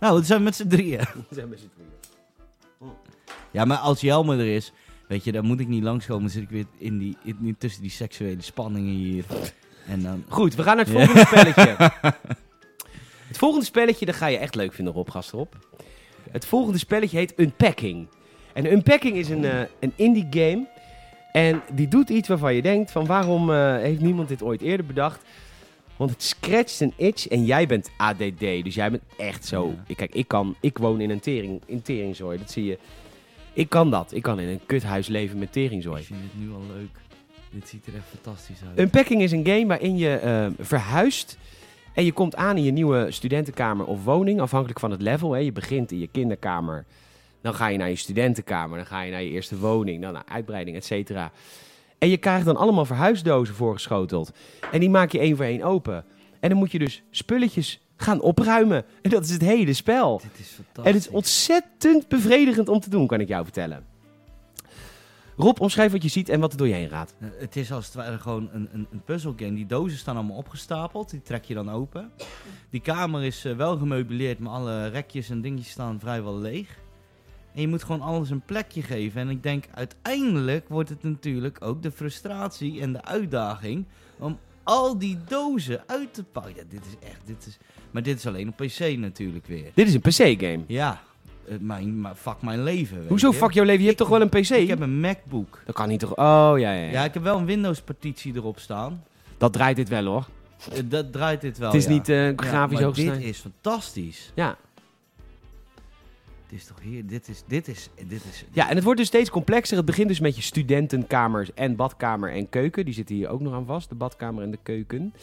Speaker 2: Nou, het zijn met z'n drieën.
Speaker 1: Zijn met z'n drieën.
Speaker 2: Ja, maar als Jelmer er is, weet je, dan moet ik niet langskomen. Dan zit ik weer in die, in, tussen die seksuele spanningen hier. En dan...
Speaker 1: Goed, we gaan naar het volgende spelletje. Het volgende spelletje, dat ga je echt leuk vinden, Rob Gasterop. Het volgende spelletje heet Unpacking. En Unpacking is een, eh, een indie game. En die doet iets waarvan je denkt van waarom eh, heeft niemand dit ooit eerder bedacht? Want het scratcht een itch en jij bent ADD. Dus jij bent echt zo... Kijk, ik, kan, ik woon in een, tering, in teringzooi, dat zie je. Ik kan dat. Ik kan in een kuthuis leven met teringzooi.
Speaker 2: Ik vind het nu al leuk. Dit ziet er echt fantastisch uit.
Speaker 1: Unpacking is een game waarin je eh, verhuist. En je komt aan in je nieuwe studentenkamer of woning, afhankelijk van het level. Hè. Je begint in je kinderkamer. Dan ga je naar je studentenkamer, dan ga je naar je eerste woning, dan naar uitbreiding, et cetera. En je krijgt dan allemaal verhuisdozen voorgeschoteld. En die maak je één voor één open. En dan moet je dus spulletjes gaan opruimen. En dat is het hele spel.
Speaker 2: Dit is fantastisch.
Speaker 1: En het is ontzettend bevredigend om te doen, kan ik jou vertellen. Rob, omschrijf wat je ziet en wat er door je heen raadt.
Speaker 2: Eh, Het is als het ware gewoon een, een, een puzzelgame. Die dozen staan allemaal opgestapeld. Die trek je dan open. Die kamer is eh, wel gemeubileerd, maar alle rekjes en dingetjes staan vrijwel leeg. En je moet gewoon alles een plekje geven. En ik denk, uiteindelijk wordt het natuurlijk ook de frustratie en de uitdaging om al die dozen uit te pakken. Ja, dit is echt, dit is... Maar dit is alleen op PC natuurlijk weer.
Speaker 1: Dit is een PC-game.
Speaker 2: Ja, eh, mijn, maar fuck mijn leven. weet
Speaker 1: Hoezo
Speaker 2: je.
Speaker 1: fuck jouw leven? Je hebt toch wel een PC?
Speaker 2: Ik heb een MacBook.
Speaker 1: Dat kan niet toch? Oh, ja, ja,
Speaker 2: Ja,
Speaker 1: ja.
Speaker 2: ik heb wel een Windows-partitie erop staan.
Speaker 1: Dat draait dit wel, hoor.
Speaker 2: Eh, Dat draait dit wel.
Speaker 1: het is
Speaker 2: ja.
Speaker 1: niet eh,
Speaker 2: Ja,
Speaker 1: grafisch
Speaker 2: maar
Speaker 1: hoogste.
Speaker 2: Dit is fantastisch.
Speaker 1: Ja.
Speaker 2: Het is toch hier. Dit is. Dit is. Dit is
Speaker 1: ja, en het wordt dus steeds complexer. Het begint dus met je studentenkamers en badkamer en keuken. Die zitten hier ook nog aan vast, de badkamer en de keuken.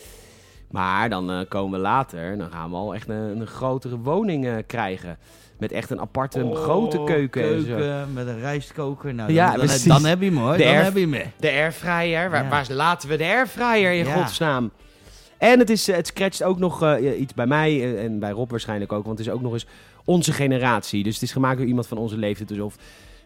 Speaker 1: Maar dan eh, komen we later, dan gaan we al echt een, een grotere woning eh, krijgen. Met echt een aparte,
Speaker 2: Oh,
Speaker 1: grote keuken. en zo.
Speaker 2: met een rijstkoker. Nou,
Speaker 1: Ja,
Speaker 2: dan, dan,
Speaker 1: precies.
Speaker 2: dan heb je hem hoor.
Speaker 1: De
Speaker 2: dan
Speaker 1: airf-
Speaker 2: heb je hem. hè.
Speaker 1: De airfryer. Waar,
Speaker 2: Ja.
Speaker 1: waar laten we de airfryer in
Speaker 2: Ja.
Speaker 1: godsnaam? En het, is, eh, het scratcht ook nog eh, iets bij mij eh, en bij Rob waarschijnlijk ook. Want het is ook nog eens onze generatie. Dus het is gemaakt door iemand van onze leeftijd. Dus of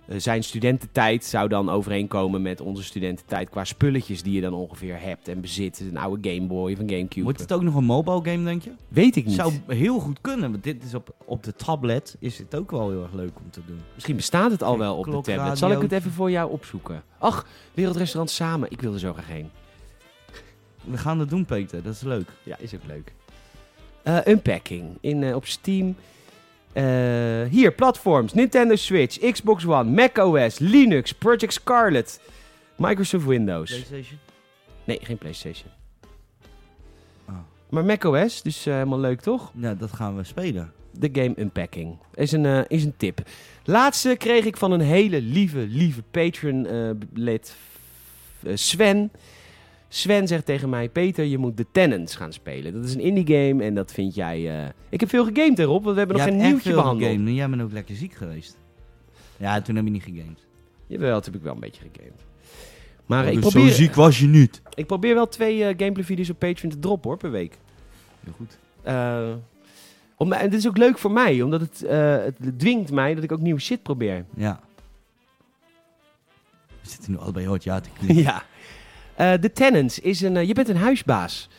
Speaker 1: eh, zijn studententijd zou dan overeenkomen met onze studententijd... qua spulletjes die je dan ongeveer hebt en bezit. Dus Een oude Game Boy of een Gamecube.
Speaker 2: Wordt het ook nog een mobile game, denk je?
Speaker 1: Weet ik niet.
Speaker 2: Zou heel goed kunnen. Want dit is op, op de tablet is dit ook wel heel erg leuk om te doen.
Speaker 1: Misschien bestaat het al wel op de
Speaker 2: Klokradio.
Speaker 1: tablet. Zal ik het even voor jou opzoeken? Ach, Wereldrestaurant Samen. Ik wil er zo graag heen.
Speaker 2: We gaan dat doen, Peter. Dat is leuk.
Speaker 1: Ja, is ook leuk. Eh, unpacking in, eh, op Steam. Eh, hier, platforms. Nintendo Switch, Xbox One, macOS, Linux, Project Scarlet, Microsoft Windows.
Speaker 2: PlayStation.
Speaker 1: Nee, geen PlayStation.
Speaker 2: Ah.
Speaker 1: Maar macOS, dus eh, helemaal leuk toch?
Speaker 2: Nou, dat gaan we spelen.
Speaker 1: De game Unpacking. Is een, eh, is een tip. Laatste kreeg ik van een hele lieve, lieve eh, Patreon-lid, eh, Sven. Sven zegt tegen mij, Peter, je moet The Tenants gaan spelen. Dat is een indie game en dat vind jij... eh, Ik heb veel gegamed erop, want we hebben nog
Speaker 2: Jij
Speaker 1: geen
Speaker 2: hebt echt
Speaker 1: nieuwtje
Speaker 2: veel
Speaker 1: behandeld.
Speaker 2: gegamed en Jij bent ook lekker ziek geweest. Ja, toen heb je niet gegamed.
Speaker 1: Jawel, dat heb ik wel een beetje gegamed. Maar ik,
Speaker 2: Dus
Speaker 1: probeer,
Speaker 2: Zo ziek was je niet.
Speaker 1: ik probeer wel twee eh, gameplay-video's op Patreon te droppen hoor, per week.
Speaker 2: Heel goed.
Speaker 1: Eh, om, en dit is ook leuk voor mij, omdat het, eh, het dwingt mij dat ik ook nieuwe shit probeer.
Speaker 2: Ja. We zitten nu allebei hard ja te knikken.
Speaker 1: ja. Eh The Tenants is een... eh, je bent een huisbaas.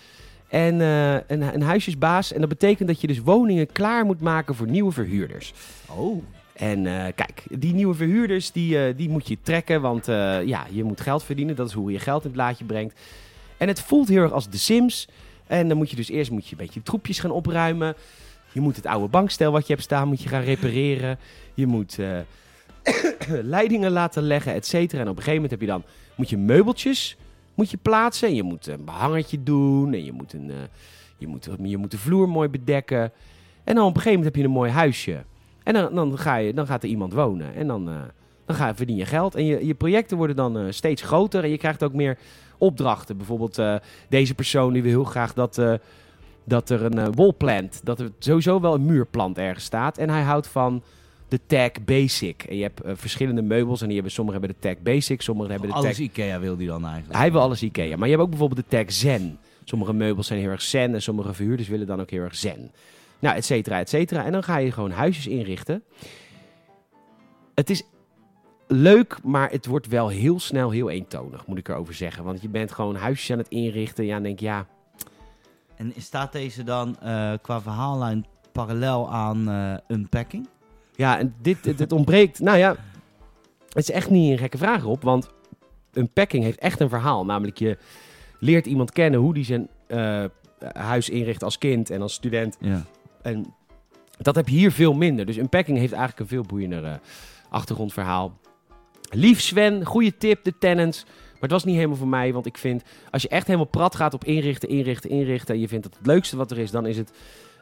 Speaker 1: En eh, een, een huisjesbaas. En dat betekent dat je dus woningen klaar moet maken voor nieuwe verhuurders.
Speaker 2: Oh.
Speaker 1: En eh, kijk, die nieuwe verhuurders, die, eh, die moet je trekken. Want eh, ja, je moet geld verdienen. Dat is hoe je geld in het laadje brengt. En het voelt heel erg als The Sims. En dan moet je dus eerst moet je een beetje troepjes gaan opruimen. Je moet het oude bankstel wat je hebt staan, moet je gaan repareren. Je moet eh, leidingen laten leggen, et cetera. En op een gegeven moment heb je dan, moet je meubeltjes moet je plaatsen. En je moet een behangetje doen. En je moet, een, eh, je, moet, je moet de vloer mooi bedekken. En dan op een gegeven moment heb je een mooi huisje. En dan, dan, ga je, dan gaat er iemand wonen. En dan, eh, dan ga, verdien je geld. En je, je projecten worden dan eh, steeds groter. En je krijgt ook meer opdrachten. Bijvoorbeeld eh, deze persoon die wil heel graag dat, eh, dat er een eh, wolplant... Dat er sowieso wel een muurplant ergens staat. En hij houdt van de tag basic. En je hebt eh, verschillende meubels. En die hebben, sommigen hebben de tag basic, sommigen hebben de tag...
Speaker 2: Alles Ikea wil die dan eigenlijk.
Speaker 1: Hij wil alles Ikea. Maar je hebt ook bijvoorbeeld de tag zen. Sommige meubels zijn heel erg zen en sommige verhuurders willen dan ook heel erg zen. Nou, et cetera, et cetera. En dan ga je gewoon huisjes inrichten. Het is leuk, maar het wordt wel heel snel heel eentonig, moet ik erover zeggen. Want je bent gewoon huisjes aan het inrichten. Ja, dan denk je, ja,
Speaker 2: En staat deze dan eh, qua verhaallijn parallel aan eh, Unpacking?
Speaker 1: ja en dit, dit, dit ontbreekt. Nou ja, het is echt niet een gekke vraag op, want een packing heeft echt een verhaal. Namelijk, je leert iemand kennen hoe die zijn eh, huis inricht als kind en als student.
Speaker 2: Ja.
Speaker 1: En dat heb je hier veel minder. Dus Unpacking heeft eigenlijk een veel boeiender eh, achtergrondverhaal. Lief Sven, goede tip, de tenants. Maar het was niet helemaal voor mij, want ik vind... als je echt helemaal prat gaat op inrichten, inrichten, inrichten... en je vindt dat het leukste wat er is, dan is het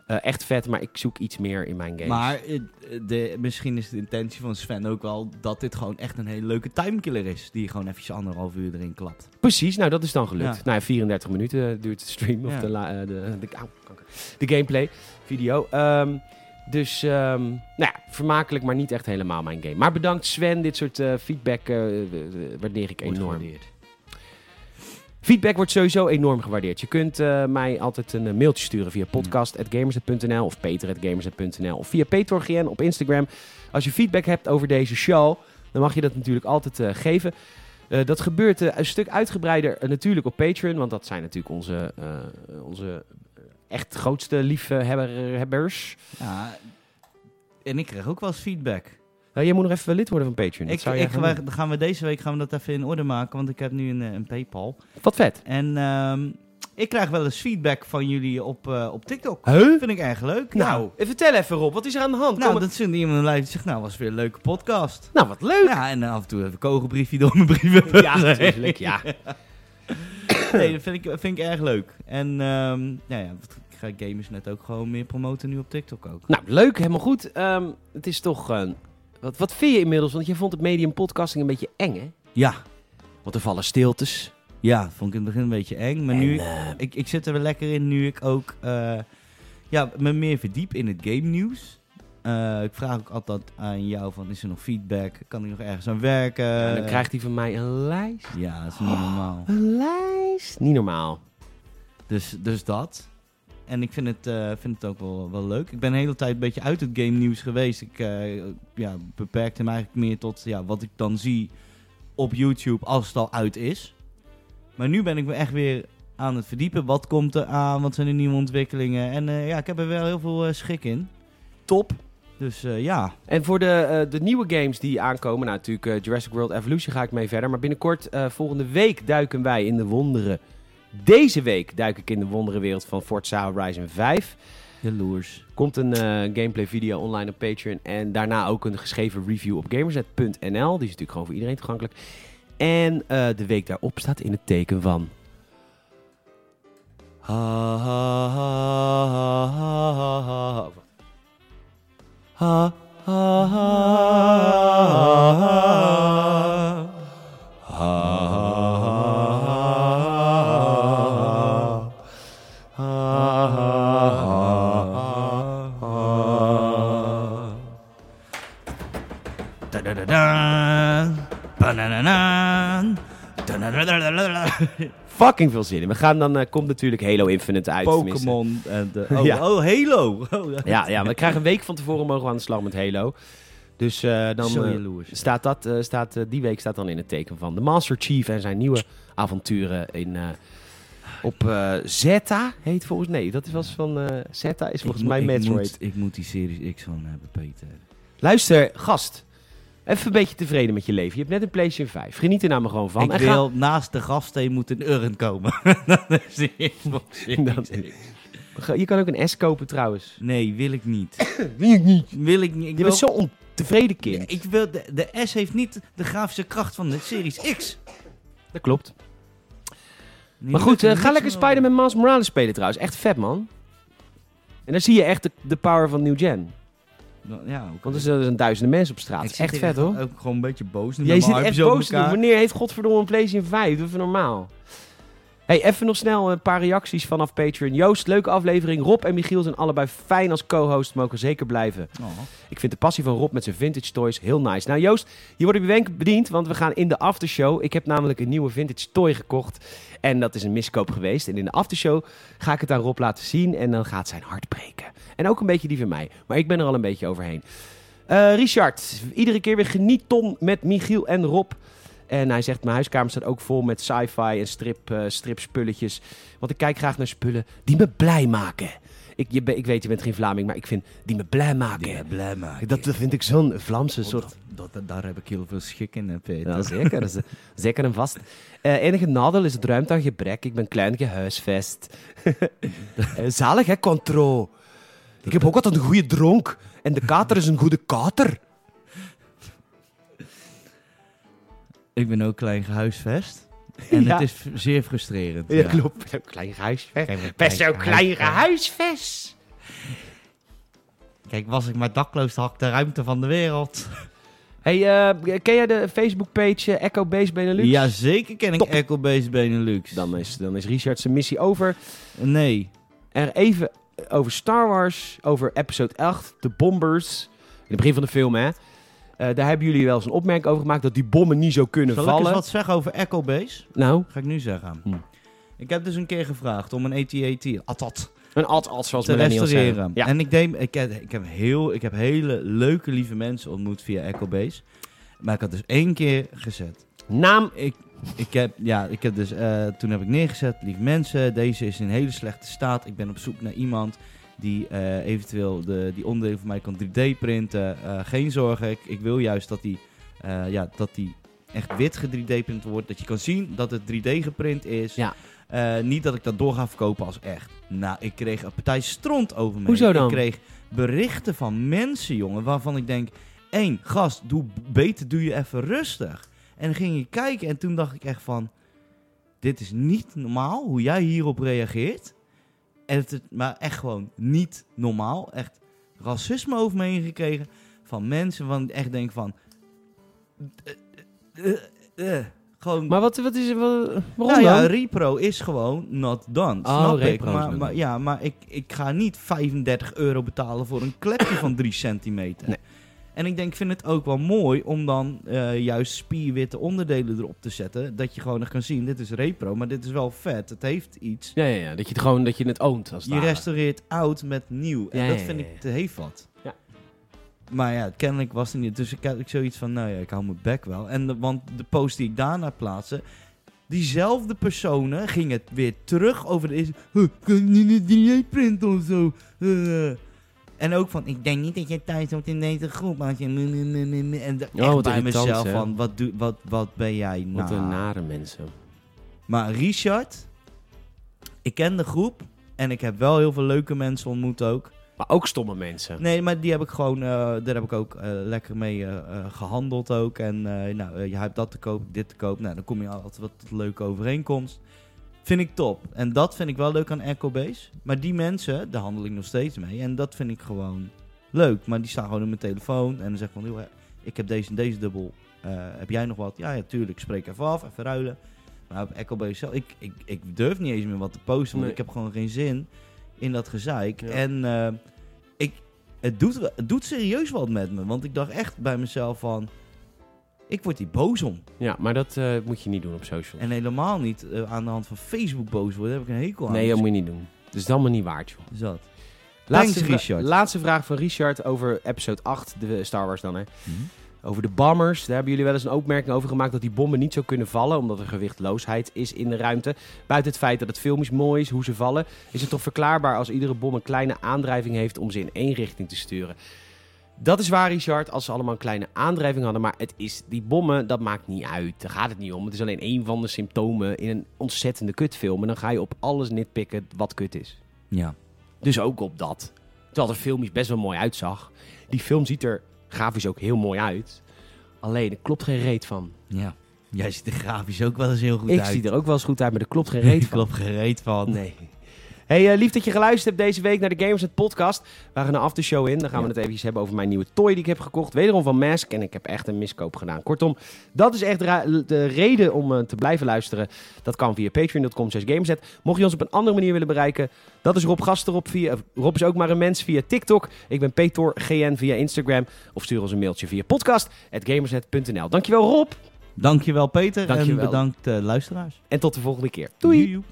Speaker 1: eh, echt vet. Maar ik zoek iets meer in mijn games.
Speaker 2: Maar eh, de, misschien is de intentie van Sven ook wel dat dit gewoon echt een hele leuke timekiller is. Die je gewoon eventjes anderhalf uur erin klapt.
Speaker 1: Precies, nou dat is dan gelukt.
Speaker 2: Ja.
Speaker 1: Nou, 34 minuten duurt de stream of
Speaker 2: Ja.
Speaker 1: de, la- eh, de, de, au, kanker. de gameplay, video. Ehm, Dus, ehm, nou ja, vermakelijk, maar niet echt helemaal mijn game. Maar bedankt Sven, dit soort eh, feedback eh, eh, waardeer ik
Speaker 2: Wordt
Speaker 1: enorm.
Speaker 2: gewaardeerd.
Speaker 1: Feedback wordt sowieso enorm gewaardeerd. Je kunt eh, mij altijd een eh, mailtje sturen via podcast.gamers.nl of peter.gamers.nl of via petorgn op Instagram. Als je feedback hebt over deze show, dan mag je dat natuurlijk altijd eh, geven. Eh, dat gebeurt eh, een stuk uitgebreider eh, natuurlijk op Patreon, want dat zijn natuurlijk onze, eh, onze echt grootste liefhebbers.
Speaker 2: Ja, en ik kreeg ook wel eens feedback.
Speaker 1: Eh, jij moet nog even lid worden van Patreon. Dat
Speaker 2: Ik,
Speaker 1: zou jij
Speaker 2: ik,
Speaker 1: gaan
Speaker 2: wij-
Speaker 1: doen.
Speaker 2: dan gaan we deze week gaan we dat even in orde maken, want ik heb nu een, eh, een Paypal.
Speaker 1: Wat vet.
Speaker 2: En ehm, ik krijg wel eens feedback van jullie op, eh, op TikTok.
Speaker 1: Huh?
Speaker 2: Dat vind ik erg leuk.
Speaker 1: Nou, eh, vertel even Rob, wat is er aan de hand?
Speaker 2: nou
Speaker 1: Kom-
Speaker 2: dat vindt iemand een die zegt, nou, was weer een leuke podcast.
Speaker 1: nou wat leuk.
Speaker 2: Ja, en af en toe even een kogelbriefje door mijn brieven.
Speaker 1: Nou, Ja, natuurlijk, ja.
Speaker 2: Nee, dat vind ik, vind ik erg leuk. En ehm, nou ja, wat- ik ga gamers net ook gewoon meer promoten nu op TikTok ook.
Speaker 1: Nou, leuk, helemaal goed. Ehm, het is toch. eh, wat, wat vind je inmiddels? Want je vond het medium podcasting een beetje eng, hè?
Speaker 2: Ja,
Speaker 1: Want er vallen stiltes.
Speaker 2: ja, dat vond ik in het begin een beetje eng. Maar
Speaker 1: En,
Speaker 2: nu,
Speaker 1: eh,
Speaker 2: ik, ik zit er wel lekker in nu ik ook eh, ja, me meer verdiep in het game nieuws. Eh, ik vraag ook altijd aan jou van, is er nog feedback? Kan ik nog ergens aan werken?
Speaker 1: en dan krijgt hij van mij een lijst.
Speaker 2: Ja, dat is niet normaal.
Speaker 1: Een lijst? Niet normaal.
Speaker 2: Dus, dus dat. En ik vind het, eh, vind het ook wel, wel leuk. Ik ben de hele tijd een beetje uit het game nieuws geweest. Ik eh, ja, beperkte me eigenlijk meer tot ja, wat ik dan zie op YouTube als het al uit is. Maar nu ben ik me echt weer aan het verdiepen. Wat komt er aan? Wat zijn de nieuwe ontwikkelingen? En eh, ja, ik heb er wel heel veel eh, schik in.
Speaker 1: Top.
Speaker 2: Dus eh, ja,
Speaker 1: En voor de, eh, de nieuwe games die aankomen, nou natuurlijk eh, Jurassic World Evolution ga ik mee verder. Maar binnenkort, eh, volgende week, duiken wij in de wonderen. Deze week duik ik in de wonderenwereld van Forza Horizon 5.
Speaker 2: jaloers.
Speaker 1: Komt een eh, gameplay video online op Patreon. En daarna ook een geschreven review op gamersnet.nl. Die is natuurlijk gewoon voor iedereen toegankelijk. En eh, de week daarop staat in het teken van. Ha, ha, ha, ha, ha, ha, ha. Oh, wacht. Ha, ha, ha, ha, ha. Ha, ha, ha, ha, ha, ha, ha.
Speaker 2: Da-da-da-da. Banananan. Da-da-da-da-da-da.
Speaker 1: fucking veel zin in. We gaan dan, eh, komt natuurlijk Halo Infinite uit. tenminste.
Speaker 2: Pokémon en de... Oh,
Speaker 1: Ja.
Speaker 2: oh, Halo! Oh, ja.
Speaker 1: Ja, ja, we krijgen een week van tevoren mogen we aan de slag met Halo. Dus eh, dan
Speaker 2: Zo
Speaker 1: eh,
Speaker 2: jaloers.
Speaker 1: staat dat, eh, staat, eh, die week staat dan in het teken van de Master Chief en zijn nieuwe avonturen in, eh, op eh, Zeta heet volgens Nee, dat was van eh, Zeta is volgens
Speaker 2: Ik
Speaker 1: mij
Speaker 2: moet- ik
Speaker 1: Metroid.
Speaker 2: moet- Ik moet die Series X eh, van hebben, Peter.
Speaker 1: Luister, gast. Even een beetje tevreden met je leven. Je hebt net een PlayStation 5. Geniet er nou maar gewoon van.
Speaker 2: ik
Speaker 1: En ga-
Speaker 2: wil naast de gasthee moet een urn komen. dat is de eerste optie.
Speaker 1: Dat- ga- Je kan ook een S kopen trouwens.
Speaker 2: Nee, wil ik niet.
Speaker 1: Wil ik niet.
Speaker 2: Wil ik niet. Ik
Speaker 1: Je
Speaker 2: wil...
Speaker 1: bent zo'n ontevreden kind.
Speaker 2: Ik wil... De, de S heeft niet de grafische kracht van de Series X.
Speaker 1: Dat klopt.
Speaker 2: Nee,
Speaker 1: Maar
Speaker 2: dat
Speaker 1: goed,
Speaker 2: er
Speaker 1: eh,
Speaker 2: niks
Speaker 1: ga lekker
Speaker 2: aan-
Speaker 1: Spider-Man Miles Morales spelen trouwens. Echt vet, man. En dan zie je echt de, de power van New Gen.
Speaker 2: Ja, ook
Speaker 1: Want er zijn, er zijn duizenden mensen op straat.
Speaker 2: Ik
Speaker 1: is
Speaker 2: zit
Speaker 1: echt
Speaker 2: hier
Speaker 1: vet, hoor.
Speaker 2: Ook gewoon een beetje boos. nu
Speaker 1: Jij
Speaker 2: met
Speaker 1: zit
Speaker 2: mijn
Speaker 1: echt
Speaker 2: armpjes
Speaker 1: boos te
Speaker 2: over
Speaker 1: doen.
Speaker 2: elkaar.
Speaker 1: Wanneer heeft godverdomme een PlayStation 5? Doe even normaal. hey, even nog snel een paar reacties vanaf Patreon. Joost, leuke aflevering. Rob en Michiel zijn allebei fijn als co-host. Mogen zeker blijven.
Speaker 2: Oh.
Speaker 1: Ik vind de passie van Rob met zijn vintage toys heel nice. Nou Joost, je wordt op je wenk bediend, want we gaan in de aftershow. Ik heb namelijk een nieuwe vintage toy gekocht. En dat is een miskoop geweest. En in de aftershow ga ik het aan Rob laten zien en dan gaat zijn hart breken. En ook een beetje die van mij. Maar ik ben er al een beetje overheen. Eh, Richard, iedere keer weer genieten met Michiel en Rob. En hij zegt, mijn huiskamer staat ook vol met sci-fi en strip, eh, stripspulletjes. Want ik kijk graag naar spullen die me blij maken. Ik, je, ben- ik weet, je bent geen Vlaming, maar ik vind die me blij maken.
Speaker 2: Ja, blij maken.
Speaker 1: Dat vind ik zo'n Vlaamse
Speaker 2: Oh,
Speaker 1: soort.
Speaker 2: dat, dat, daar heb ik heel veel schik in, hè, Peter.
Speaker 1: Ja, zeker. Z- zeker en vast. Eh, enige nadeel is het ruimte aan gebrek. Ik ben klein gehuisvest. Eh, Zalig, hè, Contro? Ik heb ook altijd een goede dronk. En de kater is een goede kater.
Speaker 2: Ik ben ook klein gehuisvest. En
Speaker 1: Ja.
Speaker 2: het is f- zeer frustrerend.
Speaker 1: Ja, klopt. Zo'n klein gehuisvest. Best zo'n klein gehuisvest.
Speaker 2: Kijk, was ik maar dakloos, dan had ik de ruimte van de wereld.
Speaker 1: Hey, eh, ken jij de Facebookpage eh, Echo Base Benelux?
Speaker 2: Ja, zeker ken ik
Speaker 1: Top.
Speaker 2: Echo Base Benelux.
Speaker 1: Dan is, dan is Richard zijn missie over.
Speaker 2: Nee.
Speaker 1: Er even eh, over Star Wars, over episode 8, de bombers. In het begin van de film, hè. Eh, daar hebben jullie wel eens een opmerking over gemaakt dat die bommen niet zo kunnen
Speaker 2: Zal ik
Speaker 1: vallen.
Speaker 2: eens wat zeggen over Echo Base?
Speaker 1: Nou,
Speaker 2: Ga ik nu zeggen.
Speaker 1: Hm.
Speaker 2: Ik heb dus een keer gevraagd om een AT-AT, ATAT,
Speaker 1: een ad-ad zoals
Speaker 2: te
Speaker 1: millennials zeggen.
Speaker 2: restaureren.
Speaker 1: Ja.
Speaker 2: En ik, deed, ik, heb, ik, heb heel, ik heb hele leuke, lieve mensen ontmoet via Echo Base. Maar ik had dus één keer gezet.
Speaker 1: Naam,
Speaker 2: Ik, ik heb, ja, ik heb dus, eh, toen heb ik neergezet, lieve mensen, deze is in hele slechte staat. Ik ben op zoek naar iemand die eh, eventueel de, die onderdelen van mij kan 3D printen. Eh, geen zorgen, ik, ik wil juist dat die, eh, ja, dat die echt wit ge 3D print wordt. Dat je kan zien dat het 3D geprint is.
Speaker 1: Ja.
Speaker 2: Eh, niet dat ik dat door ga verkopen als echt. Nou, ik kreeg een partij stront over me.
Speaker 1: Hoezo
Speaker 2: heen.
Speaker 1: dan?
Speaker 2: Ik kreeg berichten van mensen, jongen, waarvan ik denk... één, gast, doe beter doe je even rustig. En dan ging ik kijken en toen dacht ik echt van... Dit is niet normaal hoe jij hierop reageert. En het, maar echt gewoon niet normaal. Echt racisme over me heen gekregen van mensen van ik echt denk van... eh, eh, eh, gewoon
Speaker 1: maar wat, wat is wat, waarom
Speaker 2: nou ja,
Speaker 1: dan?
Speaker 2: repro is gewoon not done.
Speaker 1: Oh,
Speaker 2: snap ik.
Speaker 1: repro is
Speaker 2: Maar,
Speaker 1: not
Speaker 2: maar,
Speaker 1: done.
Speaker 2: ja, maar ik, ik ga niet 35 euro betalen voor een klepje van 3 centimeter.
Speaker 1: Nee.
Speaker 2: En ik denk, ik vind het ook wel mooi om dan eh, juist spierwitte onderdelen erop te zetten. Dat je gewoon nog kan zien, dit is repro, maar dit is wel vet. Het heeft iets.
Speaker 1: Ja, ja, ja, dat je het gewoon dat je het oont als het
Speaker 2: Je
Speaker 1: ware.
Speaker 2: restaureert oud met nieuw. En
Speaker 1: Ja,
Speaker 2: dat
Speaker 1: ja,
Speaker 2: vind
Speaker 1: ja,
Speaker 2: ik,
Speaker 1: ja.
Speaker 2: het heeft wat.
Speaker 1: Ja.
Speaker 2: Maar ja, kennelijk was het niet. Dus ik had ik zoiets van, nou ja, ik hou mijn bek wel. En de- want de post die ik daarna plaatste, diezelfde personen gingen weer terug over de... Huh, kan je niet een 3D-print of zo? Eh. En ook van, ik denk niet dat jij thuis hoort in deze groep. Als je... mm, mm, mm, mm, mm. En de-
Speaker 1: Oh,
Speaker 2: echt
Speaker 1: wat
Speaker 2: bij
Speaker 1: irritant,
Speaker 2: mezelf
Speaker 1: hè?
Speaker 2: van, wat, doe, wat, wat ben jij nou?
Speaker 1: Wat een nare mensen.
Speaker 2: Maar Richard, ik ken de groep en ik heb wel heel veel leuke mensen ontmoet ook.
Speaker 1: Maar ook stomme mensen.
Speaker 2: Nee, maar die heb ik gewoon, eh, daar heb ik ook eh, lekker mee eh, eh, gehandeld ook. En eh, nou, eh, je hebt dat te koop, dit te koop. Nou, dan kom je altijd wat tot leuke overeenkomst. Vind ik top. En dat vind ik wel leuk aan Echo Base. Maar die mensen, daar handel ik nog steeds mee. En dat vind ik gewoon leuk. Maar die staan gewoon in mijn telefoon en dan zeg ik van, joh, hè, ik heb deze en deze dubbel. Eh, heb jij nog wat? Ja, ja, tuurlijk. Spreek even af, even ruilen. Maar op Echo Base zelf, ik, ik, ik durf niet eens meer wat te posten. Want
Speaker 1: Nee.
Speaker 2: ik heb gewoon geen zin in dat gezeik.
Speaker 1: Ja.
Speaker 2: En eh, ik, het, doet, wel- het doet serieus wat met me. Want ik dacht echt bij mezelf van... Ik word hier boos om.
Speaker 1: Ja, maar dat eh, moet je niet doen op social.
Speaker 2: En helemaal niet eh, aan de hand van Facebook boos worden. Daar heb ik een hekel aan.
Speaker 1: Nee, dat
Speaker 2: Dus-
Speaker 1: moet je niet doen. Dat is dan maar niet waard, joh.
Speaker 2: dus dat.
Speaker 1: Laatste,
Speaker 2: Thanks,
Speaker 1: vra-
Speaker 2: Richard.
Speaker 1: laatste vraag van Richard over episode 8, de eh, Star Wars dan, hè.
Speaker 2: Mhm.
Speaker 1: Over de bombers, daar hebben jullie wel eens een opmerking over gemaakt dat die bommen niet zo kunnen vallen, omdat er gewichtloosheid is in de ruimte. Buiten het feit dat het filmisch mooi is hoe ze vallen, is het toch verklaarbaar als iedere bom een kleine aandrijving heeft om ze in één richting te sturen. Dat is waar, Richard, als ze allemaal een kleine aandrijving hadden, maar het is die bommen, dat maakt niet uit. Daar gaat het niet om. Het is alleen één van de symptomen in een ontzettende kutfilm. En dan ga je op alles nitpikken wat kut is.
Speaker 2: Ja.
Speaker 1: Dus ook op dat. Terwijl de film best wel mooi uitzag. Die film ziet er grafisch ook heel mooi uit. Alleen, er klopt geen reet van.
Speaker 2: Ja. Jij ziet er grafisch ook wel eens heel goed
Speaker 1: ik
Speaker 2: uit.
Speaker 1: zie er ook wel eens goed uit, maar er klopt geen reet
Speaker 2: Ik
Speaker 1: van.
Speaker 2: klop gereed van.
Speaker 1: Nee. Hey, eh, lief dat je geluisterd hebt deze week naar de Gamers Net podcast. We gaan een aftershow in. Dan gaan we het even hebben over mijn nieuwe toy die ik heb gekocht. Wederom van Mask. En ik heb echt een miskoop gedaan. Kortom, dat is echt ra- de reden om eh, te blijven luisteren. Dat kan via patreon.com slash gameset. Mocht je ons op een andere manier willen bereiken, dat is Rob Gasterop. Via, eh, Rob is ook maar een mens via TikTok. Ik ben Petor GN via Instagram. Of stuur ons een mailtje via podcast.gamersnet.nl. Dankjewel Rob.
Speaker 2: Dankjewel Peter.
Speaker 1: Dankjewel.
Speaker 2: En bedankt eh, luisteraars.
Speaker 1: En tot de volgende keer. Doei.
Speaker 2: Joejoe.